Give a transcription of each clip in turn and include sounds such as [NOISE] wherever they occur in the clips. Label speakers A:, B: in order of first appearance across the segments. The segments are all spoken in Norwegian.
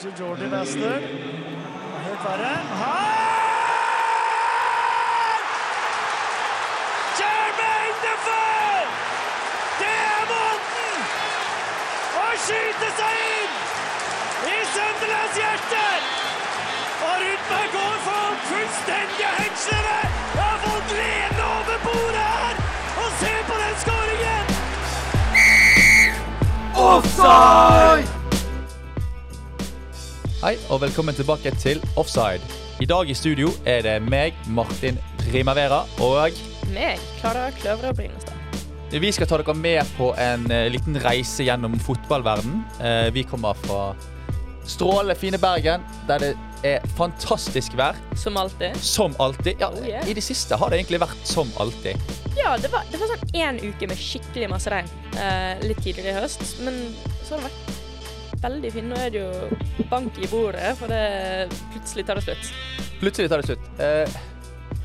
A: til Jordi Bastø. Helt verre. Her! Jermaine Defoe! Det er måten å skyte seg inn i Sunderlands hjerte! Og Rudberg går for fullstendige hengslene! Jeg har fått lene over bordet her! Og se på den skåringen!
B: Hei og velkommen tilbake til Offside. I dag i studio er det meg, Martin Primavera, og
C: Meg, Klara Kløvre og Brynestad.
B: vi skal ta dere med på en eh, liten reise gjennom fotballverden. Eh, Vi kommer fra strålende fine Bergen, der det er fantastisk vær,
C: Som alltid.
B: som alltid. Ja,
C: Oh, yeah.
B: i det siste har det egentlig vært som alltid.
C: Ja, det var, det var sånn én uke med skikkelig masse regn eh, litt tidligere i høst. Men så har det vært veldig fint. Nå er det jo bank i bordet, for det plutselig tar det slutt.
B: Plutselig tar det slutt. Eh,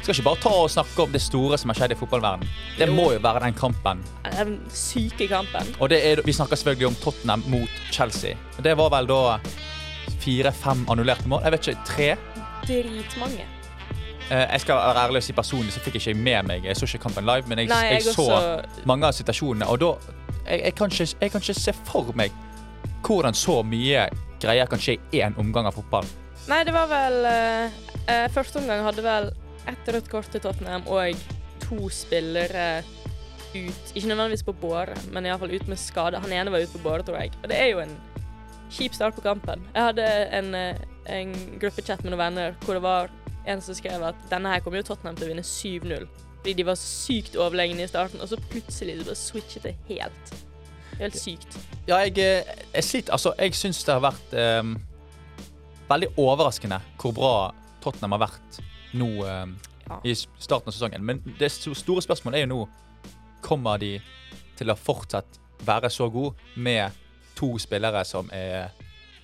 B: Skal ikke bare ta og snakke om det store som har skjedd i fotballverden. Det
C: Jo.
B: må jo være den kampen.
C: Eh, Den syke kampen.
B: Og det er, vi snakker selvfølgelig om Tottenham mot Chelsea. Det var vel da fire-fem annullerte mål. Jeg vet ikke, tre?
C: Dritmange.
B: Eh, Jeg skal være ærlig og si personlig, så fikk jeg ikke med meg. Jeg så ikke kampen live, men jeg,
C: Nei,
B: jeg,
C: jeg
B: så
C: også-
B: mange av situasjonene. Og da jeg, jeg, kan ikke, jeg kan ikke se for meg hvordan så mye greier kan skje i én omgang av fotball.
C: Nei, det var vel eh, eh, Første omgang hadde vel ett rødt kort til Tottenham og to spillere ut. Ikke nødvendigvis på båre, men iallfall ut med skade. Han ene var ute på båre, tror jeg. Og det er jo en kjip start på kampen. Jeg hadde en, eh, en gruppechat med noen venner hvor det var en som skrev at denne her kommer jo Tottenham til å vinne 7-0. Fordi de var sykt overlegne i starten, og så plutselig så bare switchet det helt. Det er helt sykt.
B: Ja, jeg, eh, jeg sliter. Altså, jeg syns det har vært ehm, veldig overraskende hvor bra Tottenham har vært nå ehm,
C: Ja.
B: i s- starten av sesongen. Men det sto- store spørsmålet er jo nå Kommer de til å fortsatt være så gode med to spillere som er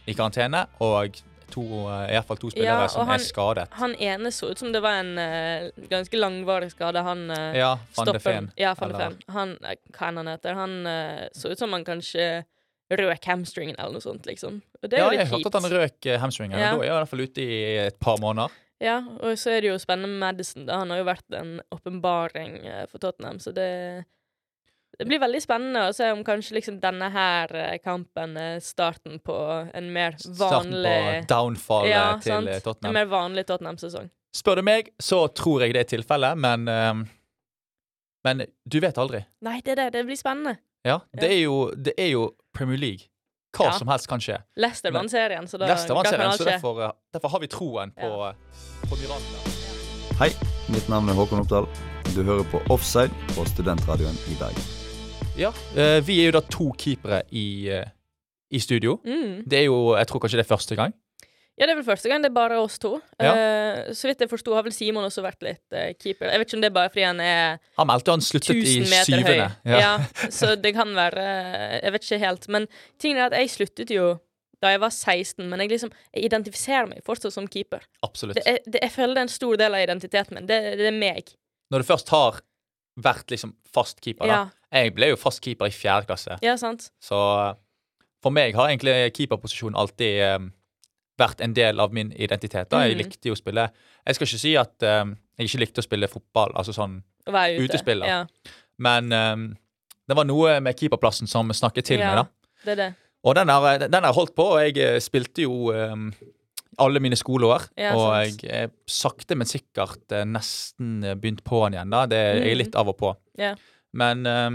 B: i karantene, og to, eh, i hvert fall to spillere
C: Ja, og
B: som
C: han-
B: er skadet?
C: Han ene så ut som det var en eh, ganske langvarig skade. Han eh,
B: Ja, Van de
C: Stopper-
B: Ven.
C: Ja, van de
B: Eller-
C: Ven. Han, eh, hva enn han heter. Han eh, så ut som han kanskje røk hamstringen eller noe sånt, liksom. Og det er
B: Ja,
C: jo
B: jeg
C: litt
B: hørte
C: kjipt.
B: at han røk eh, hamstringen. og
C: Ja.
B: Da er han i hvert fall ute i et par måneder.
C: Ja, og så er det jo spennende med Madison, da. Han har jo vært en åpenbaring eh, for Tottenham, så det det blir veldig spennende å se om kanskje liksom denne her eh, kampen er starten på en mer vanlig
B: Starten på downfallet
C: Ja,
B: til
C: sant.
B: eh, Tottenham.
C: En mer vanlig Tottenham-sesong.
B: Spør du meg, så tror jeg det er tilfellet, men ehm, Men du vet aldri.
C: Nei, det er det. Det blir spennende.
B: Ja, det er jo, det er jo Premier League. Hva
C: Ja.
B: som helst kan skje.
C: Leicester
B: Men-
C: vant serien, så da,
B: Leicester vant
C: da kan
B: serien,
C: alt
B: så
C: skje.
B: derfor, eh, derfor har vi troen på, eh, på Miranda.
D: Hei, mitt navn er Håkon Oppdal. Du hører på Offside på Studentradioen i Bergen.
B: Ja, eh, vi er jo da to keepere i, eh, i studio.
C: Mm.
B: Det er jo Jeg tror kanskje det er første gang.
C: Ja, det er vel første gang det er bare oss to.
B: Ja.
C: Eh, så vidt jeg forsto, har vel Simon også vært litt eh, keeper. Jeg vet ikke om det er bare fordi han er
B: Han meldte han sluttet i
C: 1000 meter høy.
B: syvende.
C: Ja. så det kan være eh, Jeg vet ikke helt. Men tingen er at jeg sluttet jo da jeg var 16, men jeg liksom jeg identifiserer meg fortsatt som keeper.
B: Absolutt.
C: Det er, det, jeg føler det er en stor del av identiteten min. Det, det er meg.
B: Når du først har vært liksom fast keeper, da.
C: Ja.
B: Jeg ble jo fast keeper i fjerde klasse.
C: ja, sant?
B: Så eh, for meg har egentlig keeperposisjonen alltid eh, vært en del av min identitet. Da. Jeg
C: Mhm.
B: likte jo å spille Jeg skal ikke si at eh, jeg ikke likte å spille fotball, altså sånn,
C: Å være ute.
B: Utespiller.
C: Ja,
B: men eh, det var noe med keeperplassen som snakket til
C: Ja.
B: meg, da.
C: det er det.
B: Og den har, den har holdt på, og jeg eh, spilte jo eh, alle mine skoleår.
C: Ja,
B: og
C: sant.
B: jeg eh, sakte, men sikkert eh, nesten eh, begynt på den igjen, da. Det er jeg er
C: Mhm.
B: litt av og på.
C: Ja.
B: Men eh,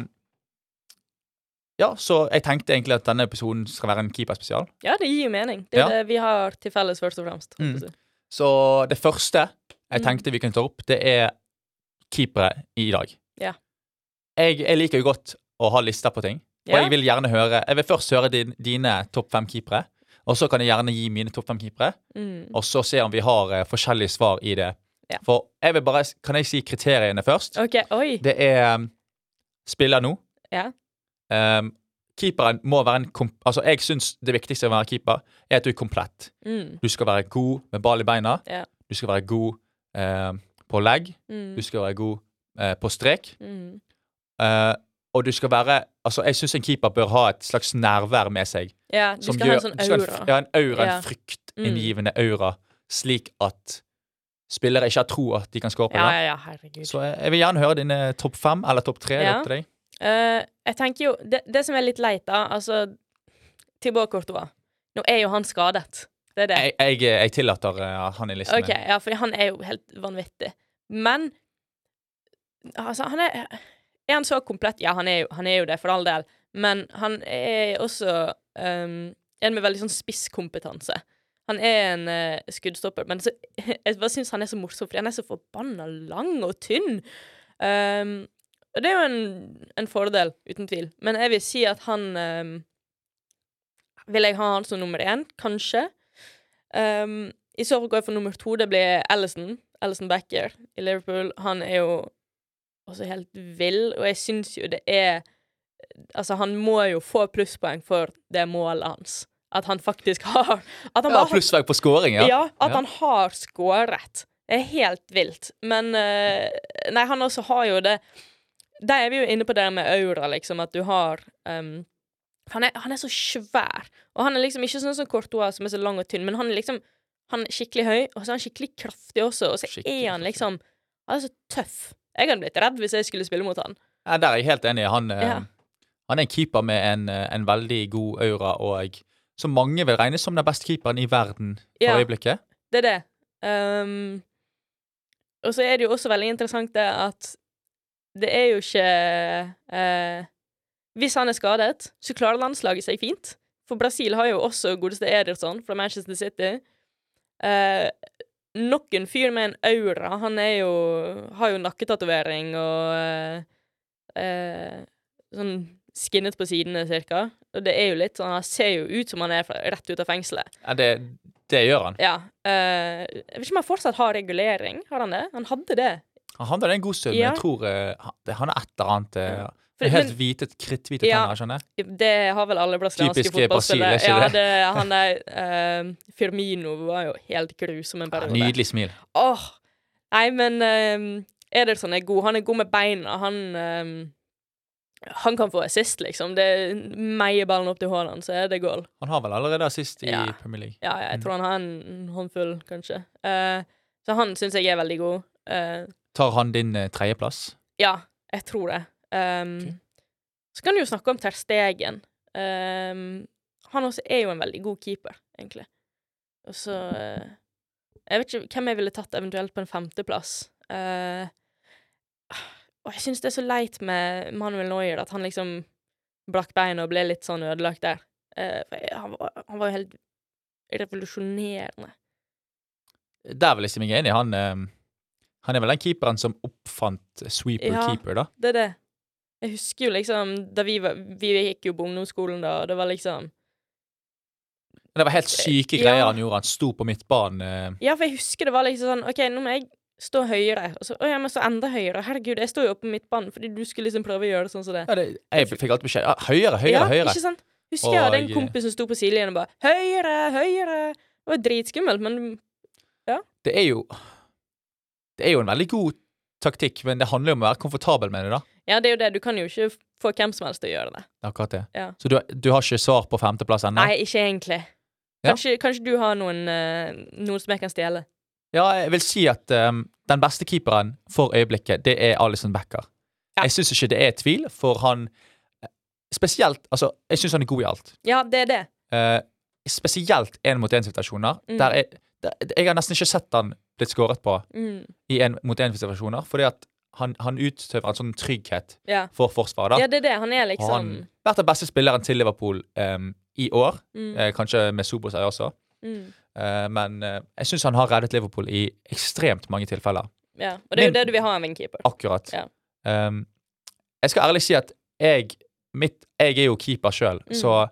B: Ja, så jeg tenkte egentlig at denne episoden skal være en keeperspesial.
C: Ja, det gir jo mening. Det er
B: Ja.
C: det vi har til felles, først og fremst.
B: Mm.
C: holdt jeg på å si.
B: Så det første jeg
C: Mm.
B: tenkte vi kunne ta opp, det er keepere i dag.
C: Ja.
B: Jeg, jeg liker jo godt å ha lister på ting, og
C: Ja.
B: jeg vil gjerne høre Jeg vil først høre din, dine topp fem keepere, og så kan jeg gjerne gi mine topp fem keepere,
C: Mm.
B: og så se om vi har eh, forskjellige svar i det.
C: Ja.
B: For jeg vil bare Kan jeg si kriteriene først?
C: OK, oi.
B: Det er um, spiller nå.
C: Ja.
B: Um, keeperen må være en kom, Altså, jeg syns det viktigste å være keeper er at du er komplett.
C: Mm.
B: Du skal være god med ball i beina.
C: Ja.
B: Du skal være god eh, på legg.
C: Mm.
B: Du skal være god eh, på strek.
C: Mm.
B: Eh, Og du skal være Altså, jeg syns en keeper bør ha et slags nærvær med seg.
C: Ja, du skal ha en sånn
B: du skal
C: aura.
B: en, ja, en aura,
C: Ja. Mm.
B: en fryktinngivende aura, slik at spillere ikke har tro at de kan score på
C: Ja,
B: det.
C: ja, ja, herregud.
B: Så jeg, jeg vil gjerne høre dine topp fem eller topp tre. det er
C: Ja.
B: opp til deg.
C: Eh, jeg tenker jo det, det som er litt leit, da Altså, Tibor Courtois. Nå er jo han skadet. Det er det.
B: Jeg, jeg, jeg tillater eh, han i listen.
C: OK, ja, for han er jo helt vanvittig. Men altså, han er Er han så komplett? Ja, han er jo, han er jo det, for all del. Men han er også ehm, en med veldig sånn spisskompetanse. Han er en eh, skuddstopper, men så, [LAUGHS] jeg bare syns han er så morsom, fordi han er så forbanna lang og tynn. Ehm, og det er jo en, en fordel, uten tvil. Men jeg vil si at han ehm, Vil jeg ha han som nummer én, kanskje? Ehm, I så fall går jeg for nummer to. Det blir Ellison. Ellison Becker i Liverpool. Han er jo også helt vill, og jeg syns jo det er Altså, han må jo få plusspoeng for det målet hans. At han faktisk har At han
B: Ja,
C: bare har
B: Plussvei på scoring, ja.
C: ja, at
B: Ja.
C: han har skåret. Det er helt vilt. Men eh, Nei, han også har jo det Der er vi jo inne på det med aura, liksom, at du har ehm, han, er, han er så svær, og han er liksom ikke sånn som Courtois, som er så lang og tynn, men han er liksom Han er skikkelig høy, og så er han skikkelig kraftig også, og så
B: Skikkelig
C: er han
B: kraftig.
C: liksom Han er så tøff. Jeg hadde blitt redd hvis jeg skulle spille mot han.
B: Ja, Der er jeg helt enig. Han, eh,
C: Ja.
B: han er en keeper med en, eh, en veldig god aura, og som mange vil regne som den beste keeperen i verden for
C: Ja.
B: øyeblikket.
C: Det er det. Ehm, og så er det jo også veldig interessant det at det er jo ikke eh, Hvis han er skadet, så klarer landslaget seg fint. For Brasil har jo også godeste Ederson fra Manchester City. Uh, nok en fyr med en aura. Han er jo har jo nakketatovering og eh, eh, sånn skinnet på sidene, cirka. Og det er jo litt sånn, han ser jo ut som han er fra, rett ut av fengselet.
B: Ja, det, det gjør han.
C: Ja. eh, jeg vet ikke om han fortsatt har regulering. Har han det? Han hadde det.
B: Han hadde det en god stund, men
C: Ja.
B: jeg tror eh, han- det- han er et eller annet eh,
C: For-
B: Helt
C: men-
B: hvite, kritthvite
C: Ja.
B: tenner, skjønner jeg.
C: Det har vel alle brasilianske
B: Typiske
C: fotballspillere.
B: Brasil,
C: Ja,
B: er ikke det?
C: det, han der eh, Firmino var jo helt grusom en
B: Ja,
C: periode.
B: Nydelig smil.
C: Åh, Nei, men eh, Ederson er god. Han er god med beina. Han eh, han kan få assist, liksom. Det meier ballen opp til Haaland, så er det goal.
B: Han har vel allerede assist i
C: Ja.
B: Premier League.
C: Ja, ja, jeg
B: Mm.
C: tror han har en håndfull, kanskje. Eh, så han syns jeg er veldig god. Eh,
B: Tar han din eh, tredjeplass?
C: Ja, jeg tror det. Um,
B: Ok.
C: Så kan du jo snakke om Ter Stegen. Um, han også er jo en veldig god keeper, egentlig. Og så eh, Jeg vet ikke hvem jeg ville tatt eventuelt på en femteplass. Eh, og jeg syns det er så leit med Manuel Neuer at han liksom brakk beinet og ble litt sånn ødelagt der. Eh, for jeg, han, var, han var jo helt revolusjonerende.
B: Der vil jeg si meg enig. Han, eh, han er vel den keeperen som oppfant eh, sweeper
C: Ja.
B: keeper, da.
C: Det er det. Jeg husker jo liksom da vi, var, vi gikk jo på ungdomsskolen da, og det var liksom
B: Men Det var helt syke
C: Ja.
B: greier han gjorde. Han sto på midtbanen. eh,
C: Ja, for jeg husker det var liksom sånn OK, nå må jeg stå høyere. Og så Å, jeg må stå enda høyere. Herregud, jeg står jo oppe på midtbanen fordi du skulle liksom prøve å gjøre det sånn som det.
B: Ja, det, jeg fikk alltid beskjed ja, Høyere, høyere,
C: ja,
B: høyere.
C: Ikke sant? Husker jeg hadde en
B: Og-
C: kompis som sto på sidelinjen og bare Høyere, høyere. Det var dritskummelt, men
B: Det er jo Det er jo en veldig god taktikk, men det handler jo om å være komfortabel med det, da.
C: ja, det er jo det. Du kan jo ikke få hvem som helst til å gjøre det.
B: Det er Akkurat det.
C: Ja.
B: Så du, du har ikke svar på femteplass ennå?
C: Nei, ikke egentlig.
B: Ja.
C: Kanskje, kanskje du har noen, eh, noen som jeg kan stjele.
B: Ja, jeg vil si at ehm, den beste keeperen for øyeblikket, det er Alison Becker.
C: Ja.
B: Jeg syns ikke det er tvil, for han eh, Spesielt Altså, jeg syns han er god i alt.
C: Ja, det er det.
B: Eh, spesielt én-mot-én-situasjoner.
C: Mm.
B: Der jeg, der, jeg har nesten ikke sett han blitt skåret på
C: Mm.
B: i én-mot-én-situasjoner, fordi at han, han utøver en sånn trygghet
C: Ja.
B: for forsvaret. da.
C: ja, det er det. Han er
B: Og
C: liksom
B: han har vært den beste spilleren til Liverpool ehm, i år,
C: Mm.
B: eh, kanskje med Sobosei også.
C: Mm.
B: Eh, men eh, jeg syns han har reddet Liverpool i ekstremt mange tilfeller.
C: Ja. Og det er jo
B: Men-
C: det du vil ha av en keeper.
B: Akkurat.
C: Ja.
B: Ehm, jeg skal ærlig si at jeg, mitt, jeg er jo keeper sjøl,
C: Mm.
B: så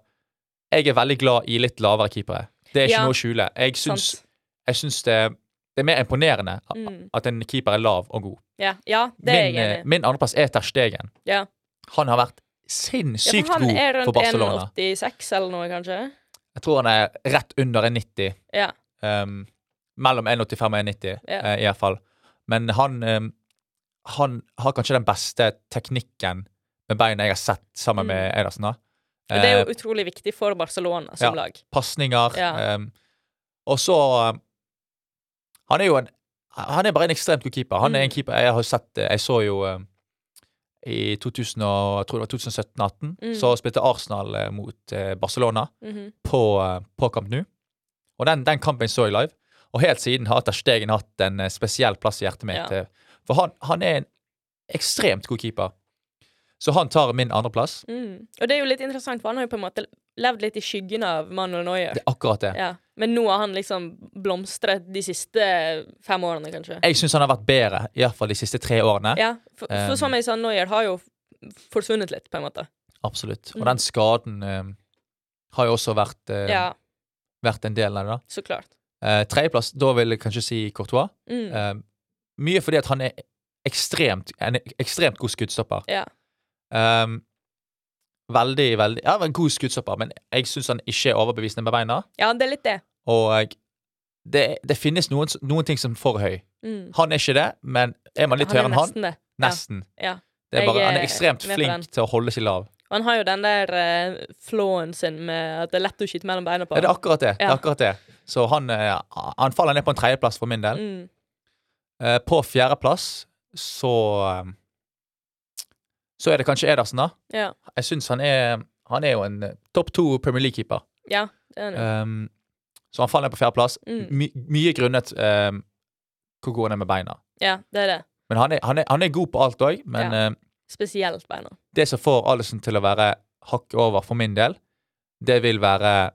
B: jeg er veldig glad i litt lavere keepere. Det er ikke
C: Ja.
B: noe å skjule. Jeg syns,
C: Sant.
B: jeg syns det, det er mer imponerende a-
C: Mm.
B: at en keeper er lav og god.
C: Ja, ja, det er
B: Min,
C: jeg
B: eh,
C: enig i.
B: min andreplass er Ter Stegen.
C: Ja.
B: Han har vært
C: Ja,
B: sinnssykt
C: for han er
B: god for
C: rundt
B: Barcelona.
C: 1,86 eller noe, kanskje?
B: Jeg tror han er rett under en 90.
C: Ja.
B: Ehm, mellom 1,85 og 1,90
C: Ja.
B: eh, i hvert fall. Men han, ehm, han har kanskje den beste teknikken med beina jeg har sett sammen med Eidarsen. da.
C: Mm. Og det er
B: Eh,
C: jo utrolig viktig for Barcelona som
B: ja.
C: lag.
B: pasninger.
C: Ja.
B: ehm, og så ehm, Han er jo en Han er bare en ekstremt god keeper. Han er en
C: Mm.
B: keeper jeg har sett eh, Jeg så jo ehm, i 2000 og, jeg tror det var 2017-18
C: Mm.
B: så spilte Arsenal eh, mot eh, Barcelona
C: Mhm.
B: på, eh, på Camp Nou. Og den, den kampen så jeg live. Og helt siden har Ter Stegen hatt en eh, spesiell plass i hjertet mitt.
C: Ja.
B: eh, For han, han er en ekstremt god keeper. Så han tar min andreplass.
C: Mm. Og det er jo litt interessant, for han har jo på en måte levd litt i skyggen av Manuel Neuer.
B: Det er akkurat det.
C: Ja. Men nå har han liksom blomstret de siste fem årene, kanskje.
B: Jeg syns han har vært bedre, iallfall de siste tre årene.
C: Ja, for, for
B: Um.
C: som jeg sa, Neuer har jo f- forsvunnet litt, på en måte.
B: Absolutt. Og
C: Mm.
B: den skaden eh, har jo også vært, eh,
C: Ja,
B: vært en del av det. da.
C: så klart.
B: Eh, Tredjeplass, da vil jeg kanskje si Courtois.
C: Mm.
B: Eh, mye fordi at han er ekstremt, en ekstremt god skuddstopper.
C: Ja.
B: Eh, veldig, veldig Ja, en god skuddstopper, men jeg syns han ikke er overbevisende med beina.
C: ja, det er litt det.
B: Og det, det finnes noen, s- noen ting som er for høy.
C: Mm.
B: Han er ikke det, men er man litt høyere enn han,
C: nesten det. ja.
B: nesten.
C: Ja.
B: Det er
C: Jeg
B: bare, han
C: er
B: er ekstremt
C: med på den.
B: flink til å holde seg lav.
C: Og han har jo den der eh, flåen sin med at det er lett å skyte mellom beina på.
B: Ja, det er akkurat det. det,
C: Ja.
B: er akkurat det. Så han, eh, han faller ned på en tredjeplass for min del.
C: Mm.
B: Eh, på fjerdeplass så eh, Så er det kanskje Edersen, da.
C: Ja.
B: Jeg syns han er Han er jo en eh, topp to Premier League-keeper.
C: ja, det er det.
B: Um, så han faller ned på fjerdeplass.
C: Mm.
B: My, mye grunnet um, hvor god han er med beina.
C: Ja, det er det.
B: Men han er, han er, han er god på alt òg, men eh,
C: Spesielt beina.
B: det som får Alison til å være hakket over for min del, det vil være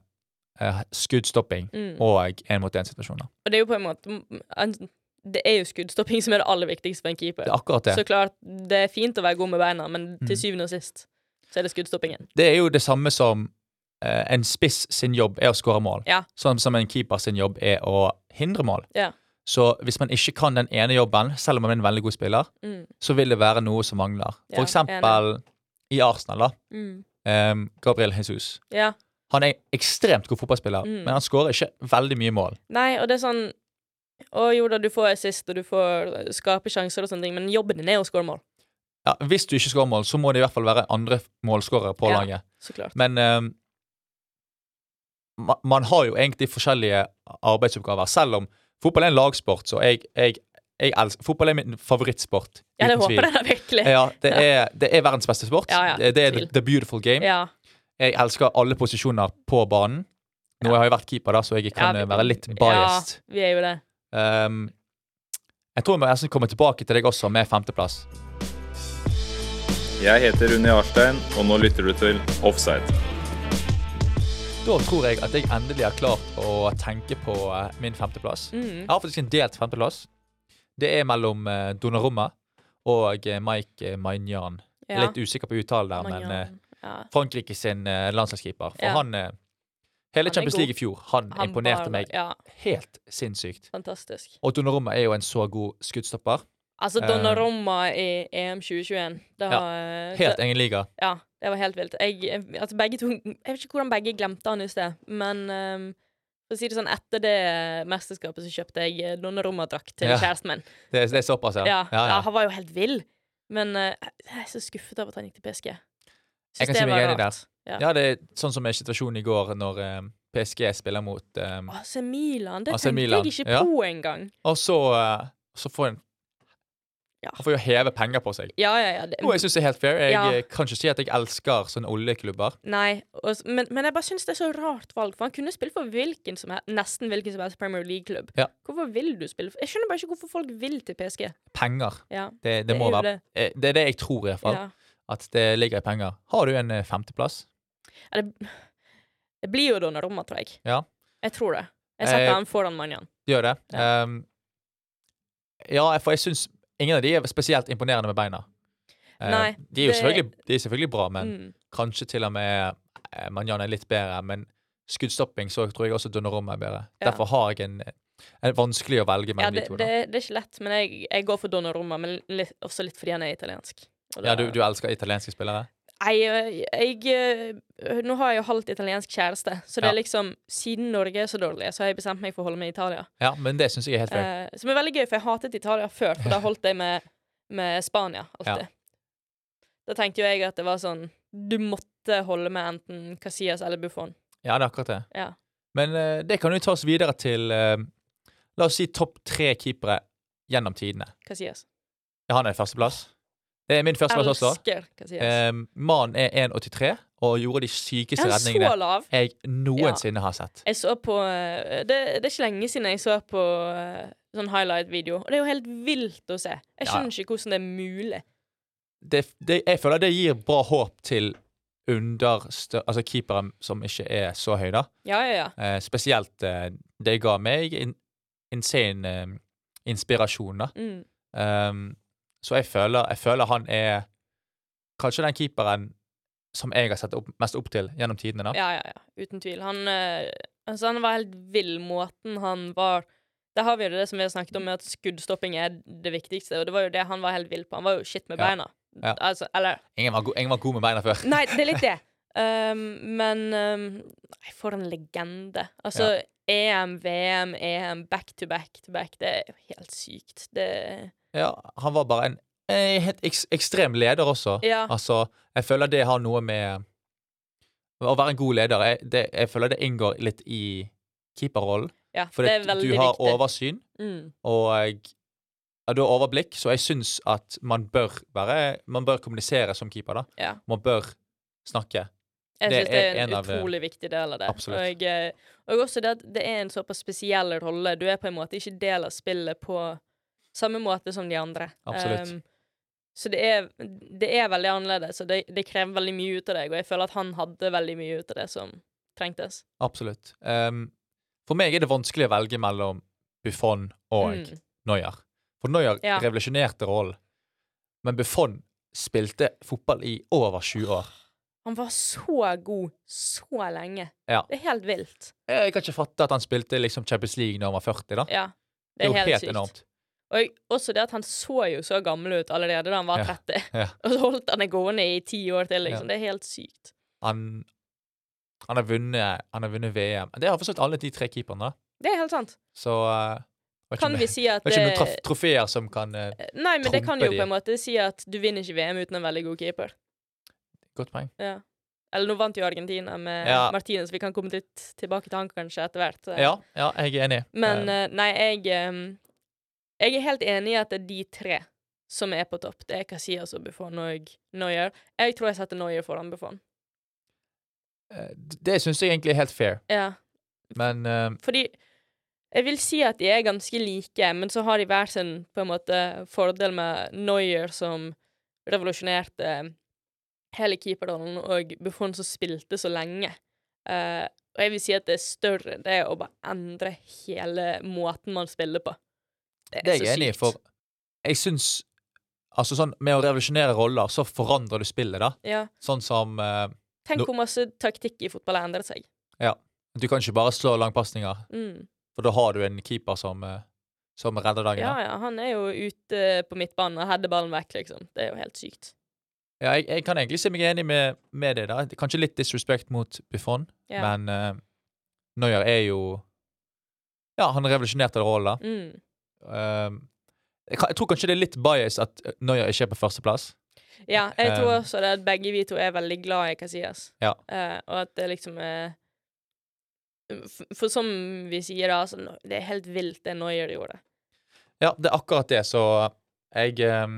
B: eh, skuddstopping
C: Mm.
B: og én-mot-én-situasjoner.
C: Og det er jo på en måte en- Det er jo skuddstopping som er det aller viktigste for en keeper.
B: Det er akkurat det.
C: Så klart, det er fint å være god med beina, men til
B: Mm.
C: syvende og sist så er det skuddstoppingen.
B: det er jo det samme som eh, en spiss sin jobb er å skåre mål.
C: Ja.
B: Sånn som en keeper sin jobb er å hindre mål.
C: Ja.
B: Så hvis man ikke kan den ene jobben, selv om man er en veldig god spiller,
C: Mm.
B: så vil det være noe som mangler.
C: Ja,
B: For eksempel i Arsenal, da.
C: Mm.
B: em, Gabriel Jesus.
C: Ja.
B: Han er ekstremt god fotballspiller,
C: Mm.
B: men han skårer ikke veldig mye mål.
C: Nei, og det er sånn Å jo da, du får assist, og du får skape sjanser og sånne ting, men jobben din er å skåre mål.
B: Ja, hvis du ikke skårer mål, så må det i hvert fall være andre målskårere på
C: Ja.
B: laget.
C: Så klart.
B: Men ehm, ma, man har jo egentlig forskjellige arbeidsoppgaver, selv om fotball er en lagsport, så jeg, jeg, jeg elsker Fotball er min favorittsport.
C: Ja, det
B: uten tvil.
C: håper jeg da virkelig.
B: Ja,
C: [LAUGHS]
B: det er, det er verdens beste sport.
C: Ja, ja,
B: det, det er
C: tvil.
B: the, the beautiful game.
C: Ja.
B: Jeg elsker alle posisjoner på banen. Nå har jeg vært keeper, da, så jeg kan
C: Ja,
B: eh,
C: vi-
B: være litt biased.
C: Ja, vi er jo det.
B: Ehm, jeg tror jeg må nesten komme tilbake til deg også med femteplass.
E: Jeg heter Rune Jarstein, og nå lytter du til Offside.
B: Da tror jeg at jeg endelig har klart å tenke på eh, min femteplass.
C: Mm.
B: Jeg har faktisk en delt femteplass. Det er mellom eh, Donnarumma og eh, Mike eh, Maignan. Jeg
C: Ja.
B: er Litt usikker på uttalen der, men eh,
C: Magnan. ja.
B: Frankrike sin eh, landslagskeeper. For
C: Ja.
B: han eh, Hele
C: er
B: Champions
C: god.
B: League i fjor, han,
C: Han
B: imponerte
C: var-
B: meg
C: Ja,
B: helt sinnssykt.
C: fantastisk.
B: Og Donnarumma er jo en så god skuddstopper.
C: Altså,
B: Eh.
C: Donnarumma i EM 2021, det
B: Ja,
C: var eh,
B: Helt
C: det,
B: egen liga.
C: Ja, det var helt vilt. Jeg, jeg- altså, begge to Jeg vet ikke hvordan begge glemte han i sted, men ehm, for å si det sånn, etter det mesterskapet så kjøpte jeg eh, Donnarumma-drakt til
B: Ja.
C: kjæresten min.
B: Det, er- det er såpass, ja.
C: Ja, ja,
B: Ja, ja.
C: han var jo helt vill. Men eh, jeg er så skuffet over at han gikk til PSG. Syns
B: Jeg kan
C: det
B: si meg
C: var
B: enig der.
C: rart. Ja.
B: Ja, det er sånn som er situasjonen i går, når eh, PSG spiller mot eh,
C: AC Milan, det
B: AC
C: tenkte
B: Milan,
C: jeg ikke
B: ja.
C: på engang.
B: Og så, eh, så får en
C: Ja.
B: Han får jo heve penger på seg.
C: Ja, ja, ja. Det,
B: Noe jeg syns er helt fair. Jeg
C: Ja.
B: eh, kan ikke si at jeg elsker sånne oljeklubber.
C: Nei, og, s- men, men jeg bare syns det er så rart valg, for han kunne spille for hvilken som helst, nesten hvilken som helst Premier League-klubb.
B: Ja.
C: Hvorfor vil du spille for Jeg skjønner bare ikke hvorfor folk vil til PSG.
B: Penger.
C: Ja,
B: Det, det,
C: er
B: må
C: jo
B: være, eh, det er det jeg tror, i hvert fall.
C: Ja.
B: At det ligger i penger. Har du en eh, femteplass?
C: Ja, det, det blir jo Donnarumma, tror jeg.
B: Ja.
C: Jeg tror det. Jeg setter
B: Eh,
C: han foran Manjan.
B: Du gjør det? Um, ja, for jeg syns ingen av de er spesielt imponerende med beina. Eh,
C: Nei,
B: de, er jo
C: det-
B: selvfølgelig, de er selvfølgelig bra, men
C: Mm.
B: kanskje til og med eh, Manjan er litt bedre. Men skuddstopping så tror jeg også Donnarumma er bedre.
C: Ja.
B: Derfor har jeg en, en vanskelig å velge
C: Ja,
B: mellom
C: det,
B: de to.
C: det,
B: Da.
C: er- det er ikke lett, men jeg, jeg går for Donnarumma, men litt, også litt fordi han er italiensk. Og da-
B: Ja, du, du elsker italienske spillere?
C: Nei, øh, jeg, øh, Nå har jeg jo halvt italiensk kjæreste, så det
B: Ja.
C: er liksom Siden Norge er så dårlig, så har jeg bestemt meg for å holde med Italia.
B: Ja, men det syns jeg er helt fair.
C: Eh, som er veldig gøy, for jeg hatet Italia før, for da holdt jeg med, med Spania alltid. Da tenkte jo jeg at det var sånn Du måtte holde med enten Casillas eller Buffon.
B: Ja, det er akkurat det.
C: Ja.
B: Men eh, det kan jo tas videre til eh, La oss si topp tre keepere gjennom tidene.
C: Casillas.
B: Ja, han er førsteplass. Det er min førsteplass også.
C: Elsker Casillas.
B: Eh, Mannen er 1,83 og gjorde de
C: Er
B: sykeste
C: han så
B: redningene
C: lav?
B: jeg noensinne har sett.
C: Jeg så på eh, det, det er ikke lenge siden jeg så på eh, sånn highlight-video, og det er jo helt vilt å se. Jeg
B: Ja.
C: skjønner ikke hvordan det er mulig.
B: Det, det, jeg føler det gir bra håp til understø... Altså keepere som ikke er så høye, da.
C: Ja, ja, ja.
B: Eh, spesielt eh, det ga meg in, insane eh, inspirasjon, da.
C: Mm.
B: Ehm, så jeg føler, jeg føler han er kanskje den keeperen som jeg har sett opp, mest opp til gjennom tidene. da.
C: Ja, ja, ja. Uten tvil. Han, eh, altså, han var helt vill. Måten han var Der har vi jo det som vi har snakket om, med at skuddstopping er det viktigste, og det var jo det han var helt vill på. Han var jo shit med
B: Ja.
C: beina.
B: Ja.
C: Altså, eller
B: Ingen, var go, ingen var god med beina før.
C: Nei, det er litt det. [LAUGHS] Um, men um, nei, for en legende. Altså EM, VM, EM, back to back to back. Det er jo helt sykt. Det
B: Ja, han var bare en, eh, helt eks, ekstrem leder også.
C: Ja.
B: Altså, jeg føler det har noe med Å være en god leder Jeg, det, jeg føler det inngår litt i keeperrollen.
C: Ja,
B: Fordi
C: det
B: at
C: er veldig
B: du har
C: viktig.
B: oversyn,
C: Mm.
B: og ja, du har overblikk, så jeg syns at man bør være Man bør kommunisere som keeper, da.
C: Ja.
B: Man bør snakke.
C: Jeg
B: Det
C: syns det er
B: er
C: en,
B: en av- eh,
C: utrolig viktig del av det.
B: Absolutt.
C: Og, eh, og også det at det er en såpass spesiell rolle. Du er på en måte ikke del av spillet på samme måte som de andre.
B: Absolutt.
C: Um, så det er, det er veldig annerledes, og det, det krever veldig mye ut av deg. Og jeg føler at han hadde veldig mye ut av det som trengtes.
B: Absolutt. Ehm, for meg er det vanskelig å velge mellom Buffon og
C: Mm.
B: Neuer. For Neuer
C: Ja.
B: revolusjonerte rollen, men Buffon spilte fotball i over 20 år.
C: Han var så god så lenge.
B: Ja.
C: Det er helt vilt.
B: Jeg kan ikke fatte at han spilte liksom Champions League når han var 40. da.
C: Ja.
B: Det er jo helt,
C: sykt.
B: enormt.
C: Og jeg- også det at han så jo så gammel ut allerede da han var
B: Ja,
C: 30.
B: ja.
C: [LAUGHS] Og så holdt han det gående i ti år til, liksom.
B: Ja.
C: Det er helt sykt.
B: Han, han, har vunnet, han har vunnet VM. Det har forstått alle de tre keeperne. da.
C: Det er helt sant.
B: Så eh, vet ikke om
C: Kan
B: det-
C: vi si at
B: vet ikke om det er
C: eh,
B: traf- trofeer som kan eh,
C: Nei, men det kan
B: trumpe
C: jo
B: de?
C: på en måte si at du vinner ikke VM uten en veldig god keeper.
B: Godt poeng.
C: Ja. Eller nå vant jo Argentina med
B: Ja.
C: Martinez, vi kan komme litt tilbake til han kanskje etter hvert. så-
B: Ja, ja, jeg er enig.
C: eh, Men
B: Eh,
C: eh, nei, jeg ehm, Jeg er helt enig i at det er de tre som er på topp. Det er Casillas og Buffon og Neuer. Jeg tror jeg setter Neuer foran Buffon.
B: eh, det syns jeg egentlig er helt fair,
C: Ja,
B: men eh,
C: fordi jeg vil si at de er ganske like, men så har de hver sin på en måte fordel med Neuer som revolusjonerte eh, hele keeperrollen, og Buffon som spilte så lenge. Eh, og jeg vil si at det er større det å bare endre hele måten man spiller på. Det
B: Det er jeg enig i, for jeg syns Altså sånn, Med å revolusjonere roller, så forandrer du spillet, da.
C: ja.
B: Sånn som eh,
C: Tenk
B: Nå-
C: hvor masse taktikk i fotball har endret seg.
B: Du kan ikke bare slå langpasninger,
C: Mm.
B: for da har du en keeper som, eh, som redder dagen.
C: Ja,
B: da.
C: ja, han er jo ute på midtbanen og header ballen vekk, liksom. Det er jo helt sykt.
B: Ja, jeg, jeg kan egentlig si meg enig med, med det. da Kanskje litt disrespect mot Buffon,
C: Ja.
B: men eh, Neuer er jo Ja, han revolusjonerte rollen, da.
C: Mm.
B: Eh, jeg, kan, jeg tror kanskje det er litt bias at Neuer ikke er på førsteplass.
C: Ja, jeg tror
B: Eh,
C: også det at begge vi to er veldig glad i Casillas.
B: Ja.
C: Eh, og at det liksom er for, for som vi sier, da, altså, no- det er helt vilt det Noyer gjorde.
B: Ja, det er akkurat det, så jeg eh,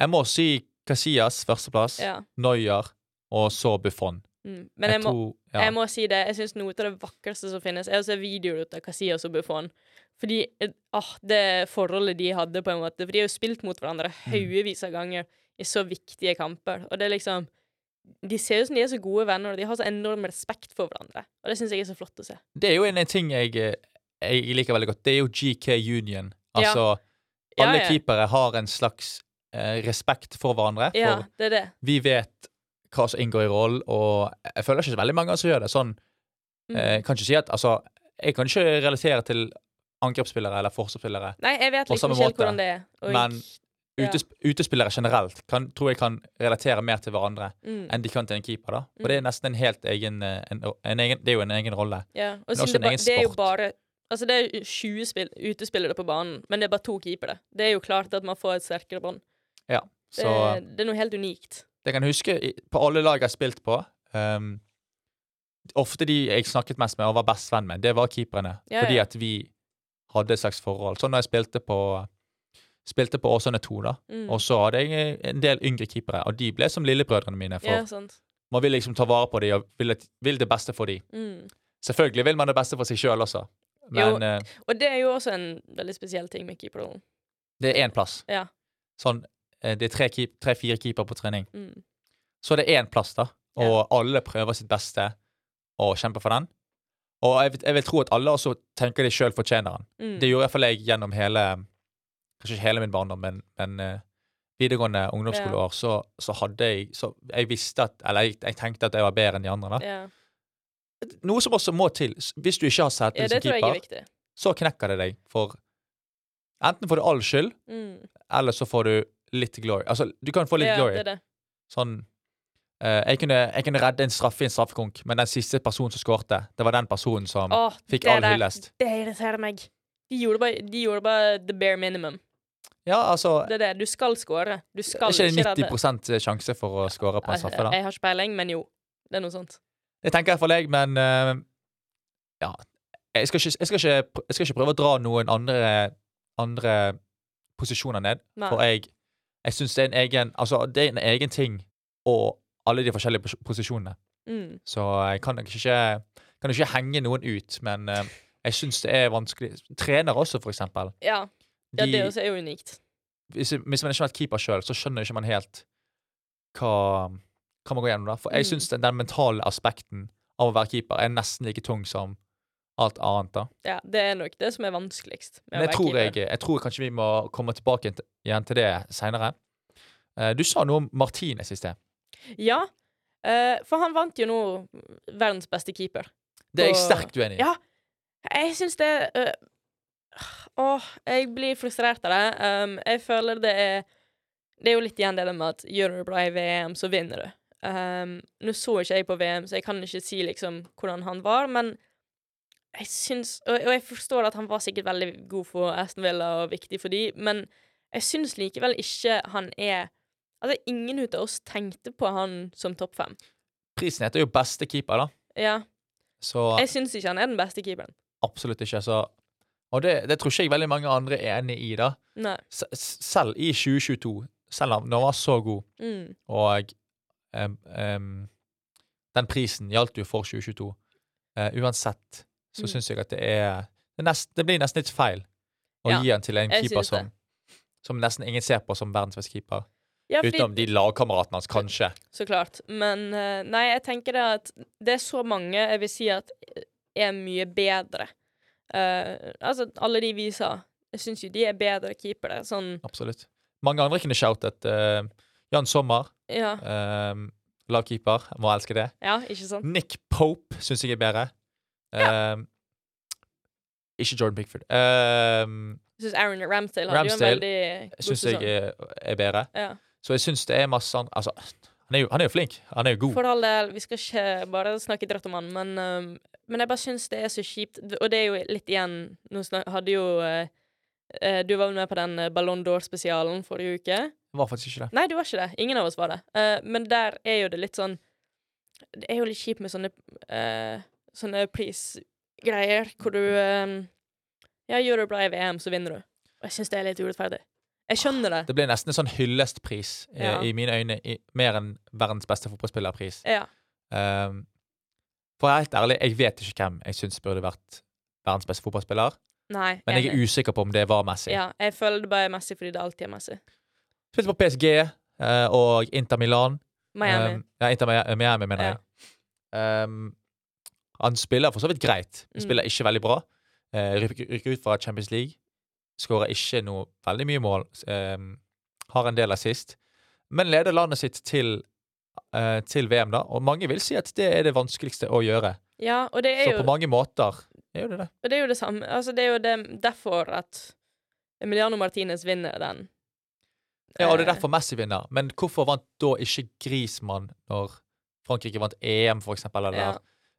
B: Jeg må si Casillas førsteplass,
C: Ja.
B: Neuer og så Buffon.
C: Mm. Men jeg, må,
B: tror- ja.
C: jeg må si det, jeg syns noe av det vakreste som finnes, er å se videoer ut av Casillas og Buffon. Fordi eh, ah, det forholdet de hadde, på en måte For de har jo spilt mot hverandre
B: Mm.
C: haugevis av ganger i så viktige kamper. Og det er liksom De ser ut som de er så gode venner, og de har så enorm respekt for hverandre. Og det syns jeg er så flott å se.
B: Det er jo en, en ting jeg, eh, jeg liker veldig godt. Det er jo GK Union. Altså,
C: Ja,
B: alle
C: ja.
B: keepere har en slags eh, respekt for hverandre.
C: Ja,
B: For
C: det er det.
B: vi vet hva som inngår i rollen, og jeg føler ikke så veldig mange som gjør det sånn.
C: Mm.
B: Eh, kan ikke si at Altså, jeg kan ikke relatere til angrepsspillere eller forsvarsspillere.
C: Nei, jeg vet
B: På
C: liksom
B: samme
C: ikke helt
B: måte.
C: hvordan det er. Og
B: Men-
C: jeg- Ja.
B: Utes, Utespillere generelt kan, tror jeg kan relatere mer til hverandre
C: mm,
B: enn de kan til en keeper. da.
C: Mm.
B: For det er nesten en helt egen, eh, en, en egen Det er jo en egen rolle.
C: ja. Og
B: også
C: siden det,
B: en
C: ba,
B: egen
C: det er jo
B: sport.
C: bare Altså, det er 20 spill, utespillere på banen, men det er bare to keepere. Det er jo klart at man får et sterkere bånd. Det,
B: Så eh,
C: det er noe helt unikt.
B: det jeg kan huske i- på alle lag jeg har spilt på ehm, Ofte de jeg snakket mest med og var best venn med, det var keeperne.
C: Ja,
B: fordi
C: ja.
B: at vi hadde et slags forhold. Sånn da jeg spilte på Spilte på Åsane 2, da.
C: Mm.
B: Og så hadde jeg en del yngre keepere, og de ble som lillebrødrene mine. For
C: Ja, sant.
B: man vil liksom ta vare på dem og vil, at- vil det beste for dem.
C: Mm.
B: Selvfølgelig vil man det beste for seg sjøl også,
C: Jo.
B: men eh,
C: Og det er jo også en veldig spesiell ting med keeperrollen.
B: det er én plass.
C: Ja.
B: Sånn, eh, det er tre-fire keep, tre, fire keeper på trening.
C: Mm.
B: Så er det én plass, da, og alle prøver sitt beste og kjemper for den. Og jeg, vil- jeg vil tro at alle også tenker de sjøl fortjener den.
C: Mm.
B: Det gjorde iallfall jeg gjennom hele Kanskje ikke hele min barndom, men, men eh, videregående ungdomsskoleår, så, så hadde jeg så Jeg visste at Eller jeg, jeg tenkte at jeg var bedre enn de andre, da.
C: ja.
B: Noe som også må til. s- Hvis du ikke har
C: ja,
B: selvtillit som
C: det tror jeg er
B: keeper,
C: viktig.
B: så knekker det deg. For enten får du all skyld,
C: Mm.
B: eller så får du litt glory. Altså, du kan få litt
C: ja,
B: glory.
C: Det er det.
B: Sånn eh, jeg, kunne, jeg kunne redde en straffe i en straffekonk, men den siste personen som skårte, det var den personen som
C: Åh,
B: fikk
C: det
B: all
C: der-
B: hyllest.
C: Det irriterer meg. De gjorde, bare, de gjorde bare the bare minimum.
B: Ja, altså
C: Det er det. Du skal score. Du skal
B: Er
C: ikke
B: ikke det
C: redde.
B: 90
C: Eh,
B: sjanse for å skåre på en straffe,
C: Jeg,
B: da?
C: jeg har ikke peiling, men jo. Det er noe sånt.
B: Det tenker jeg for deg, men eh, Ja. Jeg skal, ikke, jeg, skal ikke, pr- jeg skal ikke prøve å dra noen andre, andre posisjoner ned.
C: Nei.
B: For jeg, jeg syns det er en egen Altså, det er en egen ting og alle de forskjellige pos- posisjonene.
C: Mm.
B: Så jeg kan nok ikke, kan ikke henge noen ut, men eh, jeg syns det er vanskelig. Trenere også, for eksempel.
C: Ja. ja,
B: De,
C: det også er jo unikt.
B: hvis, hvis man ikke har vært keeper sjøl, så skjønner ikke man helt hva, hva man går gjennom. da. For jeg
C: Mm.
B: syns den, den mentale aspekten av å være keeper er nesten like tung som alt annet. da.
C: Ja, det er nok det som er vanskeligst. med å
B: Men jeg
C: være
B: tror, jeg,
C: keeper.
B: jeg tror kanskje vi må komme tilbake igjen til- igjen til det seinere. Du sa noe om Martinez i sted.
C: Ja, eh, for han vant jo nå verdens beste keeper.
B: Det er jeg
C: Og-
B: sterkt uenig i.
C: Ja. Jeg syns det øh, Åh, jeg blir frustrert av det. Um, jeg føler det er Det er jo litt igjen det der med at gjør du det bra i VM, så vinner du. Um, nå så ikke jeg på VM, så jeg kan ikke si liksom hvordan han var, men jeg syns og, og jeg forstår at han var sikkert veldig god for Aston Villa og viktig for de, men jeg syns likevel ikke han er Altså, ingen ut av oss tenkte på han som topp fem.
B: Prisen heter jo beste keeper, da.
C: Ja.
B: Så
C: Jeg syns ikke han er den beste keeperen.
B: absolutt ikke. Så Og det, det tror ikke jeg veldig mange andre er enig i, da.
C: Nei.
B: S s- selv i 2022, selv om når han var så god,
C: Mm.
B: og em, em, den prisen gjaldt jo for 2022 Eh, Uansett så
C: Mm.
B: syns jeg at det er det, er nest, det blir nesten litt feil å
C: Ja,
B: gi han til en
C: jeg
B: keeper
C: synes det.
B: som, som nesten ingen ser på som verdens beste keeper.
C: Ja, fordi-
B: Utenom de lagkameratene hans, kanskje.
C: Så klart. Men eh, nei, jeg tenker det at det er så mange jeg vil si at eh, er mye bedre. Eh, altså, alle de vi sa, jeg syns jo de er bedre keepere. Sånn,
B: Absolutt. Mange andre kunne shoutet. eh, Jan Sommer,
C: ja.
B: um, lagkeeper, må elske det.
C: Ja, ikke sant?
B: Nick Pope syns jeg er bedre. Ehm, ikke Jordan Pickford.
C: Jeg syns Aaron Ramsdale hadde jo en
B: Ramsdale
C: veldig god
B: syns jeg
C: sesong.
B: er, er bedre.
C: Ja.
B: Så jeg syns det er masse an- Altså, han er, jo, han er jo flink. Han er jo god.
C: For all del, vi skal ikke bare snakke drøtt om han, men, ehm, men jeg bare syns det er så kjipt. D- Og det er jo litt igjen Nå snak, hadde jo eh, eh, Du var vel med på den eh, Ballon d'Or-spesialen forrige uke?
B: Det var faktisk ikke det.
C: Nei, du var ikke det. Ingen av oss var det. Eh, men der er jo det litt sånn Det er jo litt kjipt med sånne eh, Sånne prisgreier hvor du eh, Ja, gjør du bra i VM, så vinner du. Og jeg syns det er litt urettferdig. Jeg skjønner det.
B: Det ble nesten en sånn hyllestpris eh,
C: Ja.
B: i mine øyne, i, mer enn verdens beste fotballspillerpris.
C: Ja.
B: Ehm, for å være helt ærlig, jeg vet ikke hvem jeg syns burde vært verdens beste fotballspiller,
C: Nei.
B: men jeg er usikker på om det var Messi.
C: Ja, jeg føler det bare er Messi fordi det alltid er Messi.
B: Spilte på PSG eh, og Inter Milan.
C: Miami.
B: Um, ja, Inter Mi- Miami, mener
C: Ja.
B: jeg. Um, han spiller for så vidt greit.
C: Mm.
B: Spiller ikke veldig bra. Eh, rykker, rykker ut fra Champions League. Skårer ikke noe veldig mye mål. Um, har en del assist. Men leder landet sitt til, eh, til VM, da. Og mange vil si at det er det vanskeligste å gjøre.
C: ja, og det er
B: Så
C: jo
B: på mange måter er jo det det.
C: Og det er jo det samme. Altså, det er jo det, derfor at Emiliano Martinez vinner den.
B: Ja, og det
C: Eh,
B: er derfor Messi vinner. Men hvorfor vant da ikke Grismann når Frankrike vant EM, for eksempel, eller,
C: Ja.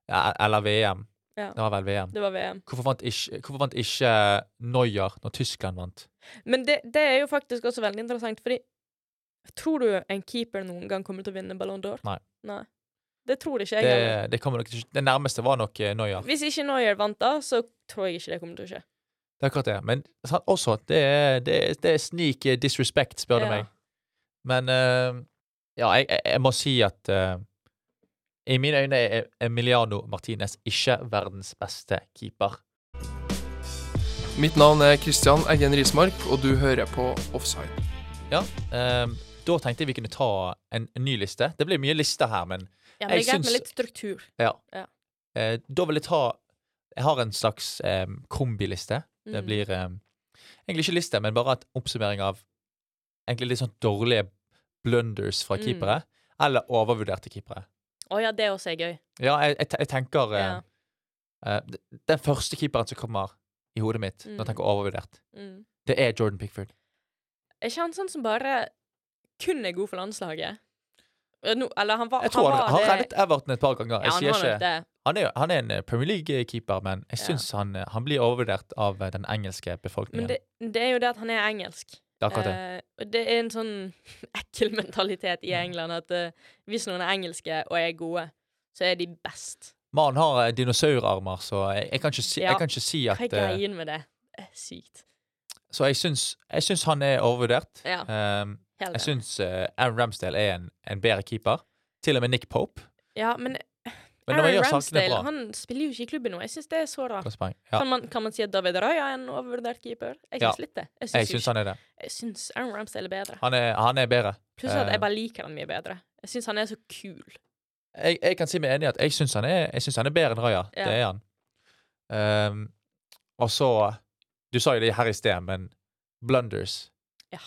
B: ja, eller VM?
C: Ja.
B: Det var vel VM.
C: Det var VM.
B: Hvorfor vant ikke, hvorfor vant ikke Neuer når Tyskland vant?
C: Men det, det er jo faktisk også veldig interessant, fordi Tror du en keeper noen gang kommer til å vinne Ballon d'Or?
B: Nei.
C: Det tror ikke jeg. heller.
B: Det, det, kommer nok ikke, det nærmeste var nok eh, Neuer.
C: Hvis ikke Neuer vant da, så tror jeg ikke det kommer til å skje.
B: Det er akkurat det. Men sant, også, det er, det, er- det er sneak eh, disrespect, spør du
C: Ja.
B: meg. Men eh, ja, jeg, jeg- jeg må si at eh, i mine øyne er Emiliano Martinez ikke verdens beste keeper.
F: Mitt navn er Kristian Eggen Rismark, og du hører på Offside.
B: Eh, da tenkte jeg vi kunne ta en, en ny liste. Det blir mye lister her, men
C: Ja,
B: men
C: men
B: Jeg
C: det er greit
B: syns-
C: med litt struktur.
B: ja.
C: Ja.
B: Eh, da vil jeg ta Jeg har en slags eh, kombiliste. Det
C: Mm.
B: blir eh, egentlig ikke liste, men bare en oppsummering av egentlig litt sånn dårlige blunders fra
C: Mm.
B: keepere. Eller overvurderte keepere.
C: Å ja, det også er gøy.
B: Ja, jeg, jeg, te- jeg tenker eh,
C: Ja.
B: eh, d- Den første keeperen som kommer i hodet mitt når jeg
C: Mm.
B: tenker overvurdert,
C: Mm.
B: det er Jordan Pickford.
C: Er ikke han sånn som bare kun er god for landslaget? Eh, nå- eller han var,
B: Jeg tror han,
C: var
B: har
C: det-
B: reddet Everton et par ganger.
C: ja,
B: Jeg
C: han
B: sier
C: har nok
B: ikke
C: det.
B: han er, han er en eh, Premier League-keeper, men jeg
C: Ja.
B: syns han, eh, han blir overvurdert av eh, den engelske befolkningen.
C: Men det,
B: Det,
C: det er jo det at han er engelsk.
B: er akkurat det.
C: Eh, og det er en sånn [LAUGHS] ekkel mentalitet
B: Mm.
C: i England at eh, hvis noen er engelske og er gode, så er de best.
B: Mannen har eh, dinosaurarmer, så jeg, jeg, kan ikke si,
C: Ja.
B: jeg kan ikke si
C: Hva
B: at
C: er
B: eh,
C: greien med det? Det er sykt.
B: Så jeg syns, jeg syns han er overvurdert.
C: Ja.
B: Ehm,
C: Helt
B: jeg
C: enig.
B: syns eh, Aaron Ramsdale er en, en bedre keeper. Til og med Nick Pope.
C: Ja, men,
B: Men nå
C: Aaron
B: gjør sakene
C: Ramsdale
B: bra.
C: han spiller jo ikke i klubben nå. Jeg syns det er så rart.
B: Godt poeng. Ja,
C: Kan, man, kan man si at David Raja er en overvurdert keeper? Jeg
B: Ja.
C: syns litt det.
B: jeg
C: Jeg syns, jo
B: syns han er det.
C: ikke- jeg syns Aaron Ramsdale er bedre.
B: Han er, han er bedre.
C: Pluss at
B: eh,
C: jeg bare liker han mye bedre. Jeg syns han er så kul.
B: Jeg, jeg kan si meg enig i at jeg syns han, er- jeg syns han er bedre enn Raja.
C: Ja.
B: Det er han. Ehm, og så Du sa jo det her i sted, men blunders
C: Ja.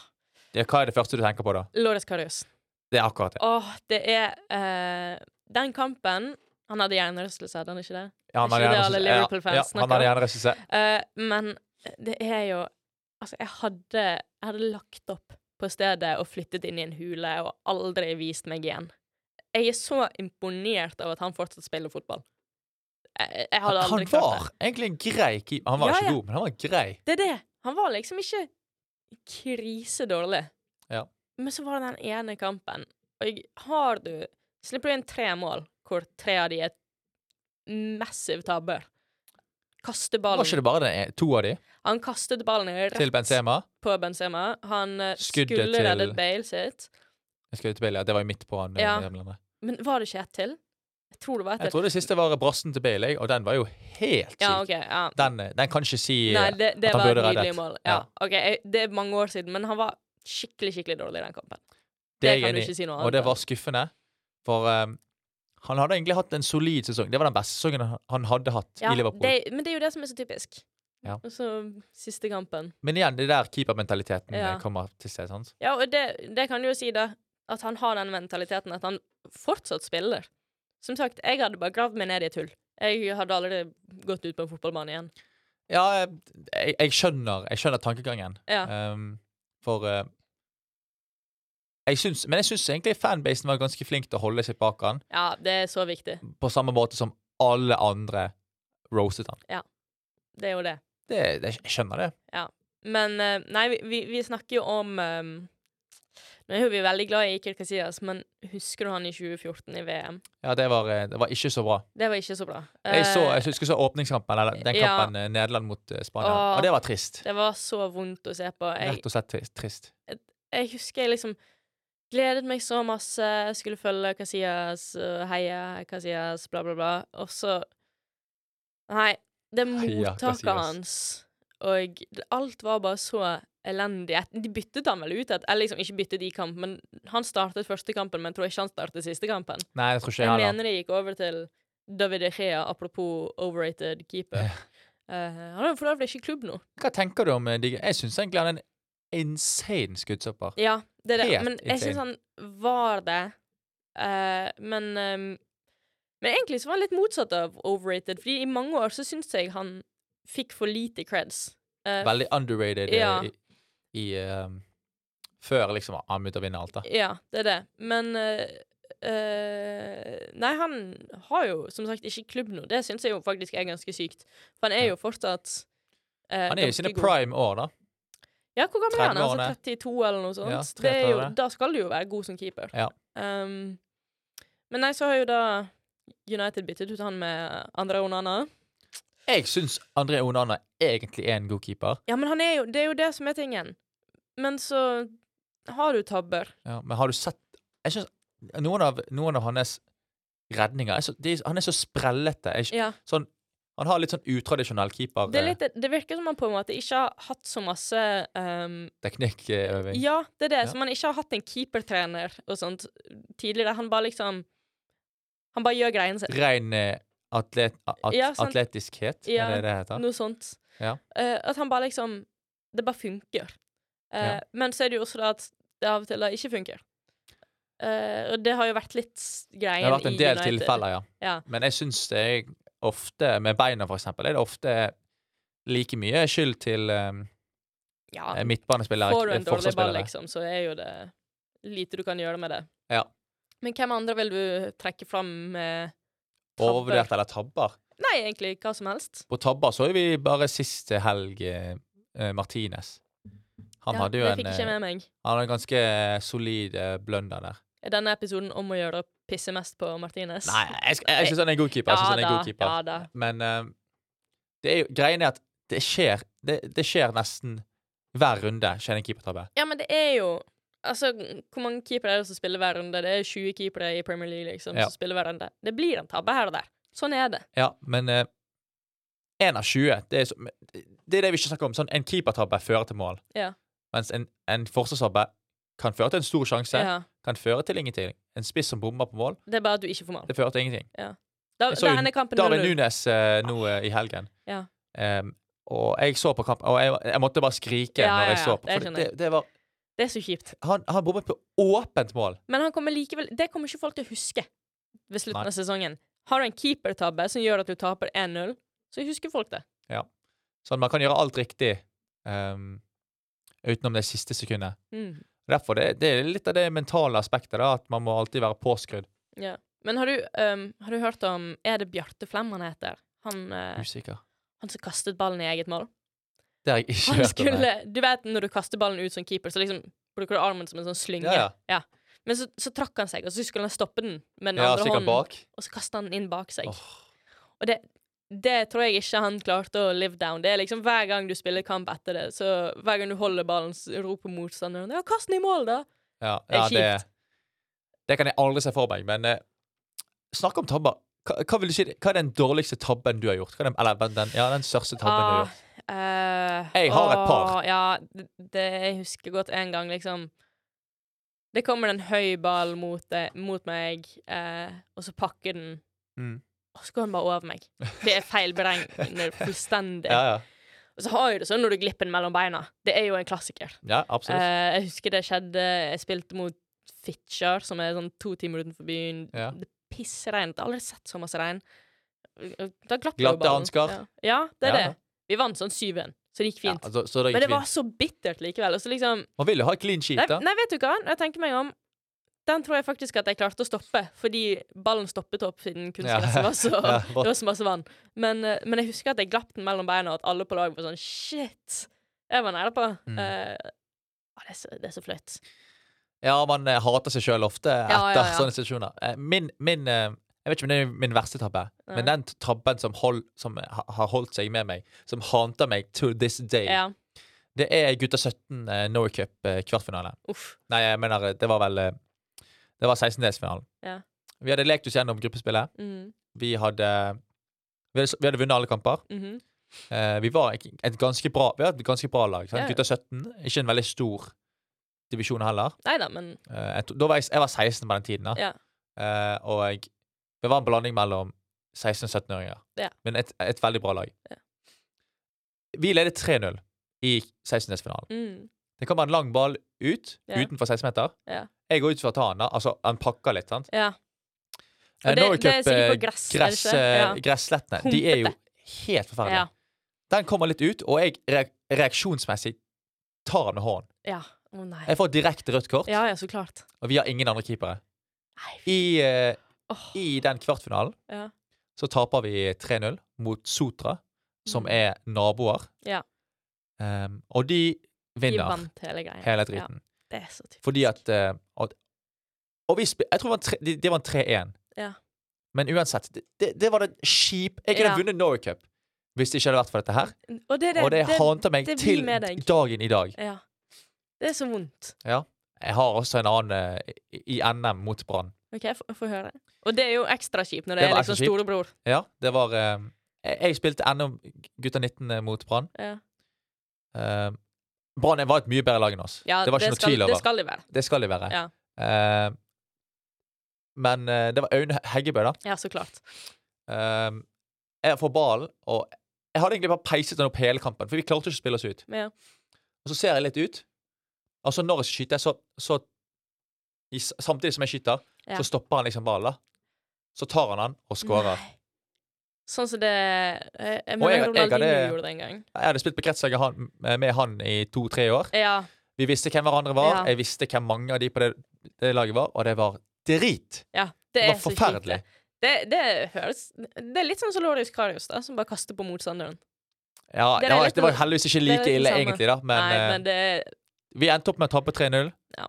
B: Ja, Hva er det første du tenker på, da?
C: Loris Karius.
B: Det er akkurat det.
C: Åh, det er eh, Den kampen Han hadde hjernerystelse, hadde han ikke det?
B: Ja,
C: det er ikke det alle
B: ja,
C: Liverpool-fans
B: ja, han
C: snakker
B: hadde
C: om.
B: gjerne regissert.
C: Eh, men det er jo Altså, jeg hadde, jeg hadde lagt opp på stedet og flyttet inn i en hule og aldri vist meg igjen. Jeg er så imponert av at han fortsatt spiller fotball. Jeg, jeg hadde
B: Han,
C: aldri
B: han var egentlig en grei keeper. Han var
C: Ja,
B: ikke
C: ja.
B: god, men han var grei.
C: Det er det. Han var liksom ikke krisedårlig.
B: Ja.
C: Men så var det den ene kampen, og jeg, har du Slipper du inn tre mål, hvor tre av de er massive tabber. Kaste
B: Var ikke
C: ballen.
B: det bare det, to av de?
C: Han kastet ballen rett
B: Til Benzema?
C: på Benzema. Han eh,
B: Skuddet
C: skulle
B: til-
C: reddet Bale sitt,
B: Jeg skal ut til Bale, ja. Det var jo midt på han. eh,
C: Ja.
B: hjemlandet.
C: men var det ikke ett til? Jeg tror det var
B: Jeg
C: ett til.
B: tror det siste var brassen til Bale, jeg, og den var jo helt syk.
C: Ja, OK. Ja.
B: den, eh, den kan ikke si eh,
C: Nei, det, det
B: at han
C: var et
B: burde reddet.
C: nydelig mål. Ja,
B: Ja.
C: ok, jeg, Det er mange år siden, men han var skikkelig skikkelig dårlig i den kampen.
B: det er
C: det kan
B: jeg
C: du
B: enig i.
C: ikke si noe
B: Og
C: annet
B: det
C: om.
B: var skuffende, for eh, han hadde egentlig hatt en solid sesong. Det var den beste sesongen han- han hadde hatt i Liverpool.
C: Det, men det er jo det som er så typisk.
B: Ja.
C: Og så siste kampen.
B: Men igjen, det er der keepermentaliteten eh,
C: Ja.
B: kommer til seg. sant?
C: Ja, og det, det kan du jo si, da. At han har den mentaliteten at han fortsatt spiller. Som sagt, jeg hadde bare gravd meg ned i et hull. Jeg hadde aldri gått ut på en fotballbane igjen.
B: Ja, eh, jeg, jeg skjønner Jeg skjønner tankegangen.
C: Ja.
B: Ehm, for eh, jeg syns, Men jeg syns egentlig fanbasen var ganske flink til å holde seg bak han,
C: Ja, det er så viktig.
B: på samme måte som alle andre roastet han.
C: Det er jo det.
B: Det, det, jeg skjønner det.
C: Men eh, nei, vi, vi, vi snakker jo om ehm, Nå er jo vi veldig glad i Iker Casillas, men husker du han i 2014 i VM?
B: Ja, det var, eh, det var ikke så bra.
C: Det var ikke så bra.
B: Jeg, så,
C: Eh,
B: jeg husker så åpningskampen, eller den
C: ja.
B: kampen eh, Nederland mot eh, Spania,
C: Åh.
B: og det var trist.
C: det var så vondt å se på. Jeg,
B: Rett og slett trist. trist.
C: jeg husker jeg liksom gledet meg så masse, jeg skulle følge Casillas, og heie Casillas, bla, bla, bla, og så Nei, det
B: Heia
C: mottaket
B: Casillas.
C: hans, og det- alt var bare så elendig. Et- De byttet han vel ut, et- eller liksom ikke byttet i kamp, men han startet første kampen, men jeg tror ikke han startet siste kampen.
B: Nei, jeg tror ikke
C: Jeg
B: jeg heller.
C: mener det gikk over til David De Gea, apropos overrated keeper. Eh, han har jo for øvrig ikke klubb nå.
B: Hva tenker du om eh, Digge? Jeg syns egentlig han er en insane skuddsopper.
C: Ja, det er det.
B: Helt
C: Men jeg
B: insane.
C: syns han var det. Eh, men ehm, Men egentlig så var han litt motsatt av overrated, fordi i mange år så syns jeg han fikk for lite creds. Eh,
B: Veldig underrated eh,
C: Ja.
B: i, i eh, Før liksom han begynte å vinne alt, da.
C: Ja, det er det. Men eh, eh, Nei, han har jo som sagt ikke klubb nå. Det syns jeg jo faktisk er ganske sykt. For han er jo fortsatt eh,
B: Han er jo i
C: ganske
B: sine
C: god.
B: prime år, da.
C: Ja, hvor gammel er han?
B: 30-årene.
C: Altså 32 eller noe sånt?
B: Ja,
C: det er jo,
B: 33.
C: da skal du jo være god som keeper.
B: Ja.
C: Um, men nei, så har jo da United byttet ut han med André Onana.
B: Jeg syns André Onana egentlig er en god keeper,
C: Ja, men han er jo, det er jo det som er tingen. Men så har du tabber.
B: ja, men har du sett Jeg synes noen av, noen av hans redninger er så, de, Han er så sprellete. Jeg,
C: Ja.
B: sånn, han har litt sånn utradisjonell eh, keeper
C: Det, er litt, det virker som han på en måte ikke har hatt så masse um,
B: teknikkøving.
C: Ja, det er det.
B: Ja.
C: Så man ikke har hatt en keepertrener og sånt tidligere. Han bare liksom Han bare gjør greiene sine.
B: Ren eh, atlet, at,
C: Ja, sant.
B: atletiskhet,
C: Ja,
B: er det det heter?
C: Noe sånt.
B: Ja.
C: Eh, at han bare liksom Det bare funker. Eh,
B: Ja.
C: Men så er det jo også det at det av og til da ikke funker. Eh, og det har jo vært litt greien i
B: Det har vært en del
C: United.
B: tilfeller, ja.
C: Ja.
B: Men jeg syns det er ofte, med beina for eksempel, er det ofte like mye skyld til um,
C: Ja,
B: midtbanespillere,
C: Får du en
B: eh,
C: dårlig ball,
B: forsvarsspillere.
C: liksom, så er jo det lite du kan gjøre med det.
B: Ja.
C: Men hvem andre vil du trekke fram med tabber?
B: Overvurderte eller tabber.
C: Nei, egentlig hva som helst.
B: På tabber så er vi bare siste helg eh, eh, Martinez. Han
C: Ja,
B: hadde jo
C: det
B: en,
C: fikk
B: eh,
C: ikke med meg.
B: han hadde en ganske solid eh, blunder der.
C: Er denne episoden om å gjøre å pisse mest på Martinez?
B: Nei, jeg, sk- jeg syns han er sånn en god keeper.
C: Ja
B: Jeg synes han er en
C: da,
B: god keeper.
C: ja da.
B: Men eh, det er jo, greien er at det skjer, det, det skjer nesten hver runde skjer en keepertabbe.
C: Ja, men det er jo Altså, hvor mange keepere er det som spiller hver runde? Det er 20 keepere i Premier League liksom,
B: Ja.
C: som spiller hver runde. Det blir en tabbe her og der. Sånn er det.
B: Ja, men eh, en av 20 det er, så, men det- det er det vi ikke snakker om. Sånn, en keepertabbe fører til mål.
C: Ja.
B: Mens en, en forsvarstabbe kan føre til en stor sjanse,
C: Ja.
B: kan føre til ingenting. En spiss som bomber på mål,
C: Det er bare at du ikke får mål.
B: det fører til ingenting.
C: Da,
B: Jeg så
C: da
B: jo
C: ender kampen
B: Darwin
C: 0-0.
B: Nunes eh, nå eh, i helgen.
C: Ja.
B: Em, og jeg så på kampen, og jeg, jeg måtte bare skrike
C: Ja,
B: når
C: ja,
B: jeg
C: ja,
B: så på.
C: det
B: For
C: skjønner
B: det,
C: jeg.
B: det var,
C: Det er så kjipt.
B: han, han bommet på åpent mål.
C: Men han kommer likevel Det kommer ikke folk til å huske ved slutten
B: Nei.
C: av sesongen. Har du en keepertabbe som gjør at du taper 1-0, så husker folk det.
B: Sånn, man kan gjøre alt riktig em, utenom det siste sekundet.
C: Mm.
B: Derfor det, det er litt av det mentale aspektet, da, at man må alltid være påskrudd.
C: Ja. Men har du, ehm, har du hørt om Er det Bjarte Flem han heter? Han, eh,
B: Usikker.
C: han som kastet ballen i eget mål?
B: Det har jeg [LAUGHS] ikke
C: Han
B: hørt om. nei.
C: skulle, du vet når du kaster ballen ut som keeper, så liksom bruker du armen som en sånn slynge.
B: Ja, ja.
C: Men så, så trakk han seg, og så skulle han stoppe den med den
B: Ja,
C: andre
B: sikkert
C: hånden.
B: bak.
C: Og så kasta han den inn bak seg.
B: Åh,
C: Og det, det tror jeg ikke han klarte å live down. Det er liksom Hver gang du spiller kamp etter det, så hver gang du holder ballen, så roper motstanderen 'Ja, kast den i mål, da!'
B: ja,
C: Det er
B: ja, det,
C: kjipt.
B: det kan jeg aldri se for meg, men eh, snakk om tabber. Hva, hva vil du si, hva er den dårligste tabben du har gjort? Hva er den, eller den, den, ja, den største tabben du har
C: Ah,
B: gjort?
C: eh,
B: Jeg har et par.
C: åh, Ja, det, det jeg husker godt en gang, liksom. Det kommer en høy ball mot, det, mot meg, eh, og så pakker den.
B: Mm.
C: Og så går den bare over meg. Det er feil
B: [LAUGHS]
C: beregner fullstendig.
B: Ja, ja.
C: Og så har jo det sånn når du glipper den mellom beina. Det er jo en klassiker.
B: ja, absolutt.
C: Eh, jeg husker det skjedde Jeg spilte mot Fitjar, som er sånn to timer utenfor byen.
B: Ja.
C: Det pissregnet. Jeg har Aldri sett så masse regn. Eh, Da glapp jo
B: Glatte
C: ballen.
B: hansker.
C: Ja. ja, det er
B: Ja.
C: det. Vi vant sånn 7-1, så det gikk
B: Ja,
C: fint.
B: altså, så det
C: Men
B: gikk
C: det var
B: fint.
C: så bittert likevel. Og så liksom
B: Man vil jo ha clean sheet,
C: nei,
B: da.
C: nei, vet du hva? Når jeg tenker meg om den tror jeg faktisk at jeg klarte å stoppe, fordi ballen stoppet opp siden kunstgresset
B: Ja.
C: var så
B: [LAUGHS] Ja,
C: Det
B: rått.
C: var så masse vann. Men, eh, men jeg husker at jeg glapp den mellom beina, og at alle på laget var sånn Shit! Jeg var nære på.
B: Mm.
C: Eh, å, det, er så, det er så flaut.
B: ja, man eh, hater seg sjøl ofte etter
C: ja, ja.
B: sånne situasjoner. Eh, Min, min eh, jeg vet ikke om det er min verste tabbe, men
C: Nei.
B: den tabben som, hold, som ha- har holdt seg med meg, som hanter meg to this day,
C: Ja.
B: det er gutta 17 eh, Norway Cup eh, kvartfinale.
C: Uff.
B: Nei, jeg mener det var vel eh, Det var 16-delsfinalen.
C: Ja.
B: Vi hadde lekt oss gjennom gruppespillet.
C: Mhm,
B: Vi hadde Vi hadde, vi hadde vunnet alle kamper.
C: mhm.
B: Eh, vi var ikke- et ganske bra Vi var et ganske bra lag. Sant?
C: Ja, ja.
B: Gutta 17. Ikke en veldig stor divisjon heller.
C: Nei da, men
B: Eh, jeg, to- da var jeg, jeg var 16 på den tiden, da.
C: Ja.
B: Eh, og jeg, det var en blanding mellom 16- og 17-åringer.
C: Ja.
B: Men et, et veldig bra lag.
C: Ja.
B: Vi ledet 3-0 i 16-delsfinalen.
C: mm.
B: Det kommer en lang ball ut,
C: Ja.
B: utenfor 16-meter.
C: Ja.
B: Jeg går ut for å ta den, da. Altså, han pakker litt, sant.
C: Ja.
B: Eh,
C: Og det,
B: Norway
C: det er
B: Cup,
C: sikkert
B: eh,
C: på gress, er det
B: gress,
C: ikke?
B: eh,
C: Ja.
B: gresslettene. De er jo
C: Humpete.
B: helt forferdelige.
C: Ja.
B: Den kommer litt ut, og jeg reak- reaksjonsmessig tar den med hånden.
C: ja. Å nei.
B: Jeg får direkte rødt kort,
C: Ja ja, så klart.
B: og vi har ingen andre keepere.
C: Nei.
B: I, eh,
C: Åh.
B: I den kvartfinalen
C: Ja.
B: så taper vi 3-0 mot Sotra, som
C: Mm.
B: er naboer.
C: Ja.
B: Ehm, og de
C: Vi
B: vinner
C: vant hele greia.
B: hele
C: Ja,
B: driten.
C: det er så typisk.
B: Fordi at, eh, at Og vi spil, Jeg tror det var en tre- det, det var en 3-1.
C: Ja.
B: Men uansett, det, det, det var det skip Jeg kunne
C: Ja.
B: vunnet Norway Cup hvis det ikke hadde vært for dette her.
C: Og det er det,
B: og det, haunter meg
C: det blir
B: til
C: med deg.
B: dagen i dag.
C: Ja. Det er så vondt.
B: Jeg har også en annen eh, i- i NM mot Brann.
C: OK, få- få høre. Og det er jo ekstra kjipt når det,
B: Det
C: er
B: var
C: liksom
B: ekstra kjipt.
C: storebror.
B: Ja, det var eh, jeg, jeg spilte NM gutta 19 mot Brann.
C: Ja.
B: Eh, Brann var et mye bedre lag enn oss.
C: Ja,
B: det var ikke noe
C: skal,
B: tvil
C: Det
B: over.
C: skal de være.
B: Det skal de være.
C: Ja.
B: Eh, men eh, det var Aune Heggebø, da.
C: Ja, så klart.
B: Eh, jeg får ballen, og jeg hadde egentlig bare peiset den opp hele kampen, for vi klarte ikke å spille oss ut.
C: Ja.
B: Og så ser jeg litt ut, og så når jeg skyter, så, så i, s- Samtidig som jeg skyter,
C: Ja.
B: så stopper han liksom ballen, da. Så tar han den og skårer.
C: Nei. Sånn som det eh, Jeg
B: Og
C: mener
B: jeg- jeg
C: Ronaldinho
B: hadde-
C: gjorde det en gang.
B: Jeg hadde spilt på kretslaget han- med han i to-tre år.
C: Ja.
B: Vi visste hvem hverandre var.
C: Ja.
B: Jeg visste hvem mange av de på det, det laget var, og det var drit.
C: ja
B: Det
C: det
B: var
C: er så kjipt.
B: forferdelig.
C: det. Det, det høres Det er litt sånn som Lorius Karius, da, som bare kaster på motstanderen.
B: Ja,
C: Det
B: det,
C: er
B: var,
C: litt-
B: det var heldigvis ikke
C: det
B: like
C: er litt
B: ille,
C: det samme.
B: egentlig, da, men,
C: Nei,
B: eh,
C: men det,
B: vi endte opp med å tape 3-0.
C: Ja.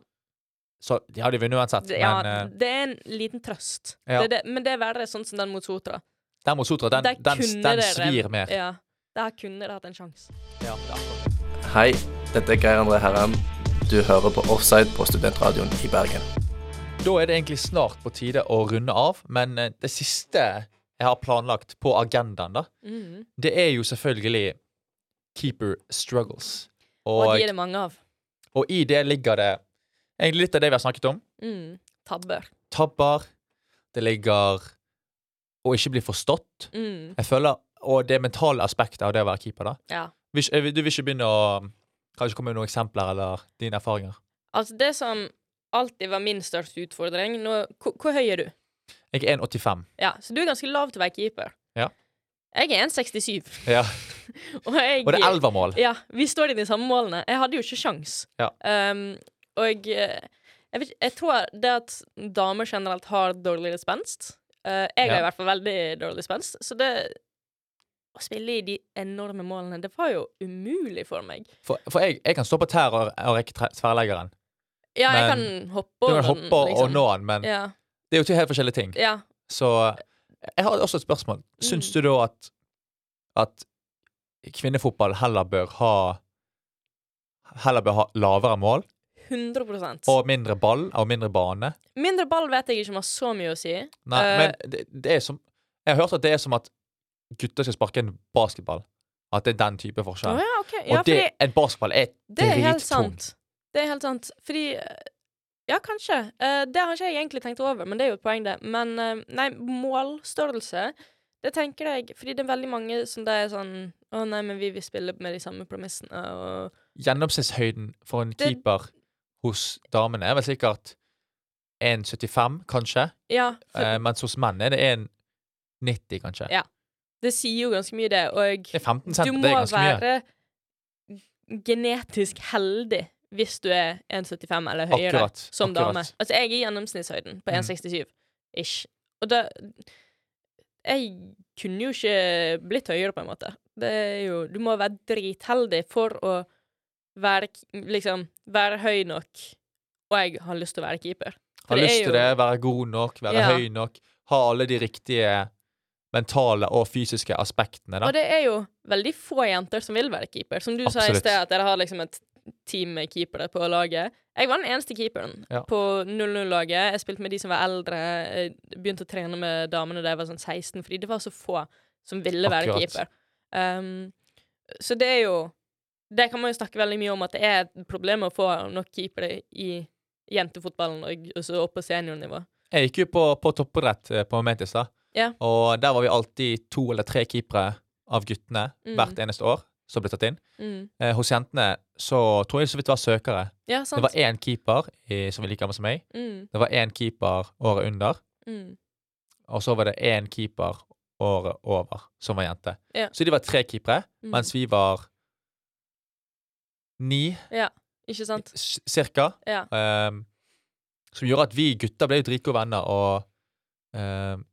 B: Så de hadde vunnet uansett,
C: det, ja,
B: men eh,
C: det er en liten trøst.
B: Ja.
C: Det, er det, men det er verre sånn som den mot Sotra.
B: den mot Sotra, den,
C: Der
B: den,
C: kunne
B: den
C: dere-
B: svir mer.
C: Ja. Der kunne det hatt en sjanse.
B: Ja, da.
G: Hei, dette er Geir André Herrem. Du hører på Offside på Studentradioen i Bergen.
B: Da er det egentlig snart på tide å runde av, men eh, det siste jeg har planlagt på agendaen, da,
C: Mhm.
B: det er jo selvfølgelig keeper struggles.
C: Og,
B: Og,
C: de er det mange av.
B: og i det ligger det egentlig litt av det vi har snakket om.
C: Mm. Tabber.
B: tabber. Det ligger å ikke bli forstått.
C: Mm.
B: Jeg føler, Og det mentale aspektet av det å være keeper. da.
C: Ja.
B: Hvis, eh, du vil ikke begynne å um, Kanskje komme med noen eksempler eller dine erfaringer?
C: Altså, det som alltid var min største utfordring nå, hvor, hvor høy er du?
B: Jeg er 1,85.
C: Ja, Så du er ganske lav til å være keeper.
B: Ja.
C: Jeg er 1,67,
B: Ja.
C: [LAUGHS] og jeg
B: Og det er elvermål.
C: Ja, vi står i de samme målene. Jeg hadde jo ikke sjans.
B: Ja.
C: Um, og eh, jeg, vet, ikke- jeg tror det at damer generelt har dårligere spenst eh, Jeg har
B: Ja.
C: i hvert fall veldig dårlig spenst, så det å spille i de enorme målene, det var jo umulig for meg.
B: For, for jeg, jeg kan stå på tær og, og rekke tre- tverrleggeren.
C: Ja, jeg kan
B: Men
C: hoppe
B: Du
C: over
B: kan hoppe og nå den, men
C: liksom. Ja.
B: det er jo to helt forskjellige ting.
C: ja.
B: Så eh, jeg har også et spørsmål. Syns
C: Mm.
B: du da at, at kvinnefotball heller bør ha Heller bør ha lavere mål
C: 100
B: og mindre ball og mindre bane?
C: Mindre ball vet jeg ikke om har så mye å si.
B: Nei,
C: Eh,
B: men det, det er som Jeg har hørt at det er som at gutter skal sparke en basketball. At det er den type
C: Å
B: forskjell.
C: ja, ok. Ja,
B: og det,
C: fordi
B: en basketball er
C: Det er helt
B: drittung.
C: sant. Det er helt sant. Fordi eh, Ja, kanskje. Eh, det har ikke jeg egentlig tenkt over, men det er jo et poeng, det. Men eh, nei, målstørrelse, det tenker jeg Fordi det er veldig mange som det er sånn Å nei, men vi vil spille med de samme premissene og
B: Gjennomsnittshøyden for en
C: Det-
B: keeper hos damene er vel sikkert 1,75, kanskje.
C: Ja. For,
B: Eh, mens hos menn er det 1,90, kanskje.
C: Ja. det sier jo ganske mye, det. Og
B: Det er 15
C: du
B: cent,
C: må
B: det er ganske mye.
C: være genetisk heldig hvis du er 1,75 eller høyere
B: Akkurat.
C: som
B: akkurat.
C: dame. Altså, jeg er i gjennomsnittshøyden på
B: Mm.
C: 1,67 ish. Og da Jeg kunne jo ikke blitt høyere, på en måte. Det er jo Du må være dritheldig for å være k- Liksom være høy nok, og jeg har lyst til å være keeper.
B: Ha
C: For det er
B: lyst til
C: jo-
B: det, være god nok, være
C: Ja.
B: høy nok. Ha alle de riktige mentale og fysiske aspektene, da.
C: Og det er jo veldig få jenter som vil være keeper. Som du sa i
B: Absolutt.
C: sted, at dere har liksom et team med keepere på laget. Jeg var den eneste keeperen
B: Ja.
C: på 0-0-laget. Jeg spilte med de som var eldre. Jeg begynte å trene med damene da jeg var sånn 16, fordi det var så få som ville være
B: Akkurat.
C: keeper. Um, så det er jo Det kan man jo snakke veldig mye om, at det er et problem å få nok keepere i jentefotballen og og så opp på seniornivå.
B: Jeg gikk jo på, på toppidrett eh, på Metis, da.
C: Ja.
B: Og der var vi alltid to eller tre keepere av guttene
C: Mm.
B: hvert eneste år som ble tatt inn.
C: Mm.
B: Eh, hos jentene så tror jeg det så vidt var søkere.
C: Ja, sant.
B: Det var én keeper i, som var like gammel som meg.
C: Mm,
B: Det var én keeper året under,
C: mm.
B: og så var det én keeper året over som var jente.
C: Ja.
B: Så de var tre keepere,
C: Mm.
B: mens vi var ni,
C: mm. Ikke sant?
B: s- cirka.
C: Ja.
B: ehm, som gjorde at vi gutter ble jo dritgode venner, og ehm,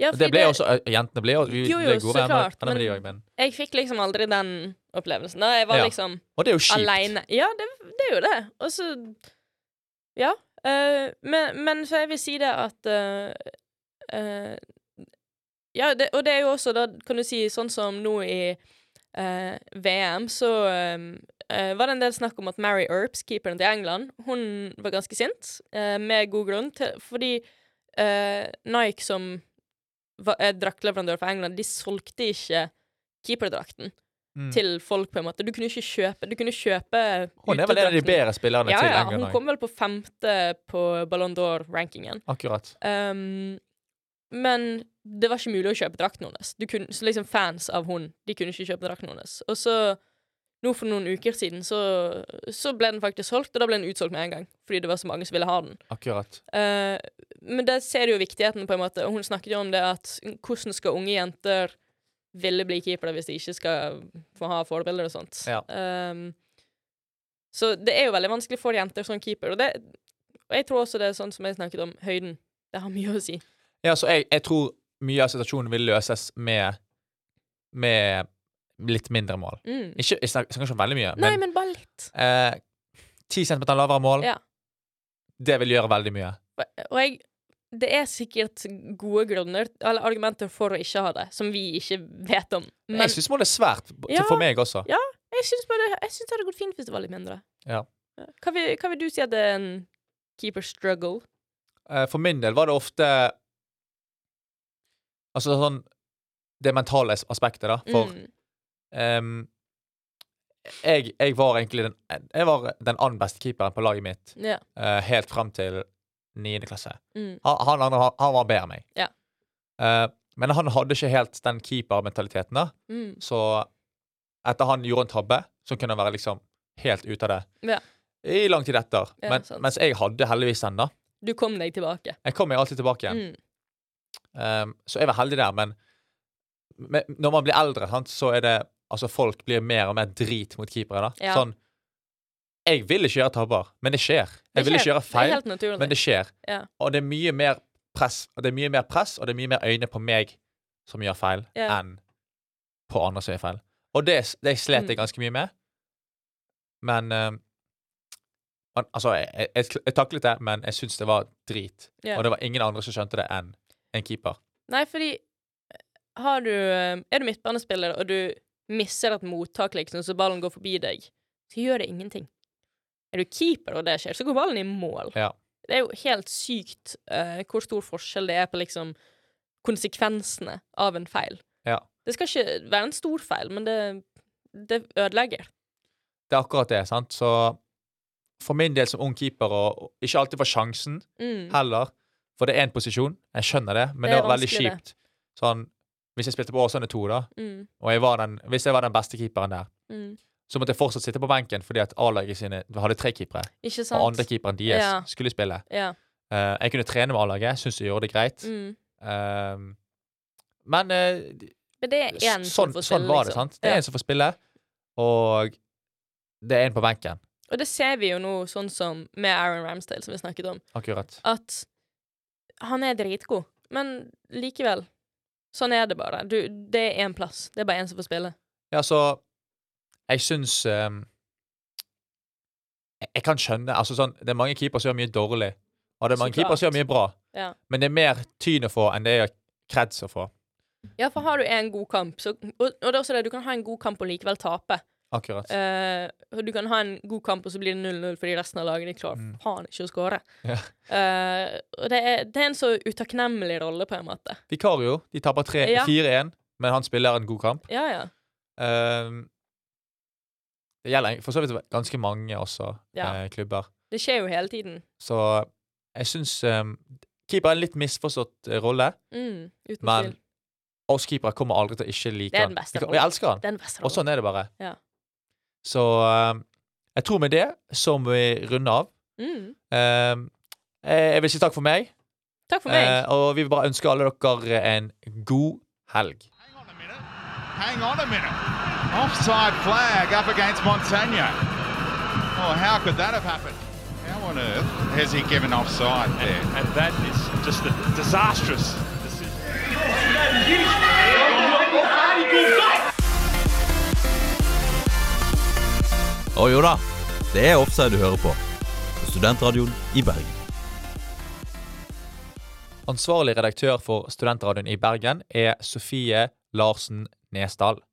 C: Ja,
B: Og
C: fordi
B: det ble også, jentene ble, jo- vi
C: Jo, jo,
B: ble
C: så
B: gode venner
C: klart,
B: venner med de
C: men-
B: også, men
C: Jeg fikk liksom aldri den opplevelsen. Da jeg var
B: Ja.
C: liksom
B: Og det er jo kjipt.
C: aleine. Ja, det, det er jo det. Og så Ja. eh, men, men så jeg vil si det at eh, eh, Ja, det, og det er jo også, da kan du si, sånn som nå i eh, VM, så eh, eh, var det en del snakk om at Mary Earps, keeperen til England, hun var ganske sint, eh, med god grunn, til, fordi eh, Nike, som var, er draktleverandør for England, de solgte ikke keeperdrakten
B: Mm.
C: til folk, på en måte. Du kunne ikke kjøpe Du kunne kjøpe
B: Hun er vel en av de
C: utedrakten.
B: bedre spillerne
C: ja,
B: til
C: ja,
B: England.
C: hun
B: også.
C: kom vel på femte på Ballon d'Or-rankingen.
B: Akkurat.
C: Um, men det var ikke mulig å kjøpe drakten hennes. Du kunne, så liksom fans av hun, de kunne ikke kjøpe drakten hennes. Og så, nå for noen uker siden, så, så ble den faktisk solgt, og da ble den utsolgt med en gang. Fordi det var så mange som ville ha den.
B: akkurat.
C: Eh, men der ser du jo viktigheten, på en måte. Og hun snakket jo om det at hvordan skal unge jenter ville bli keepere hvis de ikke skal få ha forbilder og sånt.
B: Ja.
C: Ehm, så det er jo veldig vanskelig for jenter som keeper. Og, det, og jeg tror også det er sånn som jeg snakket om, høyden. Det har mye å si.
B: Ja, så jeg, jeg tror mye av situasjonen vil løses med, med litt mindre mål.
C: Mm.
B: Ikke, jeg snak- snakker ikke om veldig mye,
C: Nei,
B: men,
C: men bare litt.
B: eh, 10 cm lavere mål,
C: Ja.
B: det vil gjøre veldig mye.
C: Og jeg det er sikkert gode grunner, eller argumenter for å ikke ha det, som vi ikke vet om. Men
B: jeg syns målet er svært b-
C: Ja.
B: for meg også.
C: Ja. Jeg syns bare Jeg syns det hadde gått fint hvis det var litt mindre.
B: Ja.
C: Hva vil, hva vil du si at det er en keeper struggle?
B: Eh, for min del var det ofte Altså sånn Det mentale as- aspektet, da. For
C: mm.
B: ehm, jeg, jeg var egentlig den, jeg var den annen beste keeperen på laget mitt
C: Ja.
B: eh, helt fram til niende klasse.
C: Mm.
B: Han, han, andre, han, han var bedre enn meg.
C: Ja.
B: Eh, men han hadde ikke helt den keepermentaliteten, da.
C: Mm.
B: Så etter han gjorde en tabbe, så kunne han være liksom helt ute av det.
C: Ja.
B: I lang tid etter.
C: Ja,
B: men,
C: sant.
B: mens jeg hadde heldigvis den, da.
C: Du kom deg tilbake.
B: Jeg kom meg alltid tilbake igjen.
C: Mm.
B: Um, så jeg var heldig der, men, men når man blir eldre, sant, så er det Altså, folk blir mer og mer drit mot keepere, da.
C: Ja.
B: Sånn Jeg vil ikke gjøre tabber, men det skjer. Jeg vil
C: skjer.
B: ikke gjøre
C: Det er
B: feil,
C: helt naturlig.
B: men det skjer.
C: Ja.
B: Og det er mye mer press, og det er mye mer press, og det er mye mer øyne på meg som gjør feil,
C: Ja.
B: enn på andre som gjør feil. Og det, det slet
C: Mm.
B: jeg ganske mye med. Men eh, al- Altså, jeg, jeg- jeg, jeg taklet det, men jeg syns det var drit.
C: Ja.
B: Og det var ingen andre som skjønte det enn en keeper.
C: Nei, fordi har du, eh, er du midtbanespiller, og du misser et mottak, liksom, så ballen går forbi deg, så gjør det ingenting. Er du keeper og det skjer, så går ballen i mål.
B: Ja.
C: Det er jo helt sykt eh, hvor stor forskjell det er på liksom konsekvensene av en feil.
B: Ja.
C: Det skal ikke være en stor feil, men det, det ødelegger.
B: Det er akkurat det, sant? Så for min del som ung keeper, og og ikke alltid for sjansen
C: Mm.
B: heller, for det er én posisjon, jeg skjønner det, men
C: Det
B: det,
C: er
B: var veldig
C: vanskelig,
B: kjipt. Sånn, hvis jeg spilte på Åsane 2, da,
C: Mm.
B: og jeg var den, hvis jeg var den beste keeperen der,
C: Mm.
B: så måtte jeg fortsatt sitte på benken fordi at A-laget sine hadde tre keepere,
C: Ikke
B: og
C: sant?
B: andre keeperen deres
C: Ja.
B: skulle spille.
C: Ja.
B: Eh, jeg kunne trene med A-laget, syntes jeg gjorde det greit.
C: Mm.
B: Eh, men eh,
C: Men det er én
B: sånn,
C: som får
B: sånn
C: spille,
B: var det,
C: liksom.
B: sant? Det er
C: Ja.
B: en som får spille, og det er en på benken.
C: Og det ser vi jo nå, sånn som med Aaron Ramsdale, som vi snakket om,
B: Akkurat.
C: at han er dritgod, men likevel Sånn er det bare. Du, det er én plass. Det er bare én som får spille.
B: Ja, så Jeg syns ehm, jeg, jeg kan skjønne altså sånn, Det er mange keepere som gjør mye dårlig, og det er
C: Så
B: mange keepere som
C: klart.
B: gjør mye bra.
C: Ja.
B: Men det er mer tyn å få enn det er kreds å få.
C: Ja, for har du en god kamp, så Og, og det er også det, du kan ha en god kamp og likevel tape.
B: Akkurat.
C: Eh, og du kan ha en god kamp, og så blir det 0-0 fordi resten av laget de klarer
B: Mm.
C: faen ikke å skåre.
B: Ja.
C: Eh, og det er, det er en så utakknemlig rolle, på en måte.
B: Vikario de taper tre-
C: Ja.
B: 4-1, men han spiller en god kamp.
C: Ja, ja.
B: Ehm, det gjelder for så vidt ganske mange også,
C: Ja.
B: eh, klubber.
C: Det skjer jo hele tiden.
B: Så jeg syns um, keeper er en litt misforstått eh, rolle,
C: Mm, uten
B: men
C: tvil.
B: oss keepere kommer aldri til å ikke
C: Det
B: like
C: er
B: han.
C: den beste
B: Vi kan- Og jeg elsker han.
C: Det er den beste
B: Og sånn er det bare.
C: Ja.
B: Så eh, jeg tror med det så må vi runde av.
C: Mm.
B: Eh, jeg vil si takk for meg,
C: Takk for
B: eh,
C: meg.
B: og vi vil bare ønske alle dere en god helg.
H: Hang on a minute. Hang on a minute. Offside flag up against Montagna. Oh, how could that have happened? How on earth has he given offside there?
A: And that is just a disastrous decision.
D: Å jo da, det er offside du hører på. På Studentradioen i Bergen.
B: Ansvarlig redaktør for Studentradioen i Bergen er Sofie Larsen Nesdal.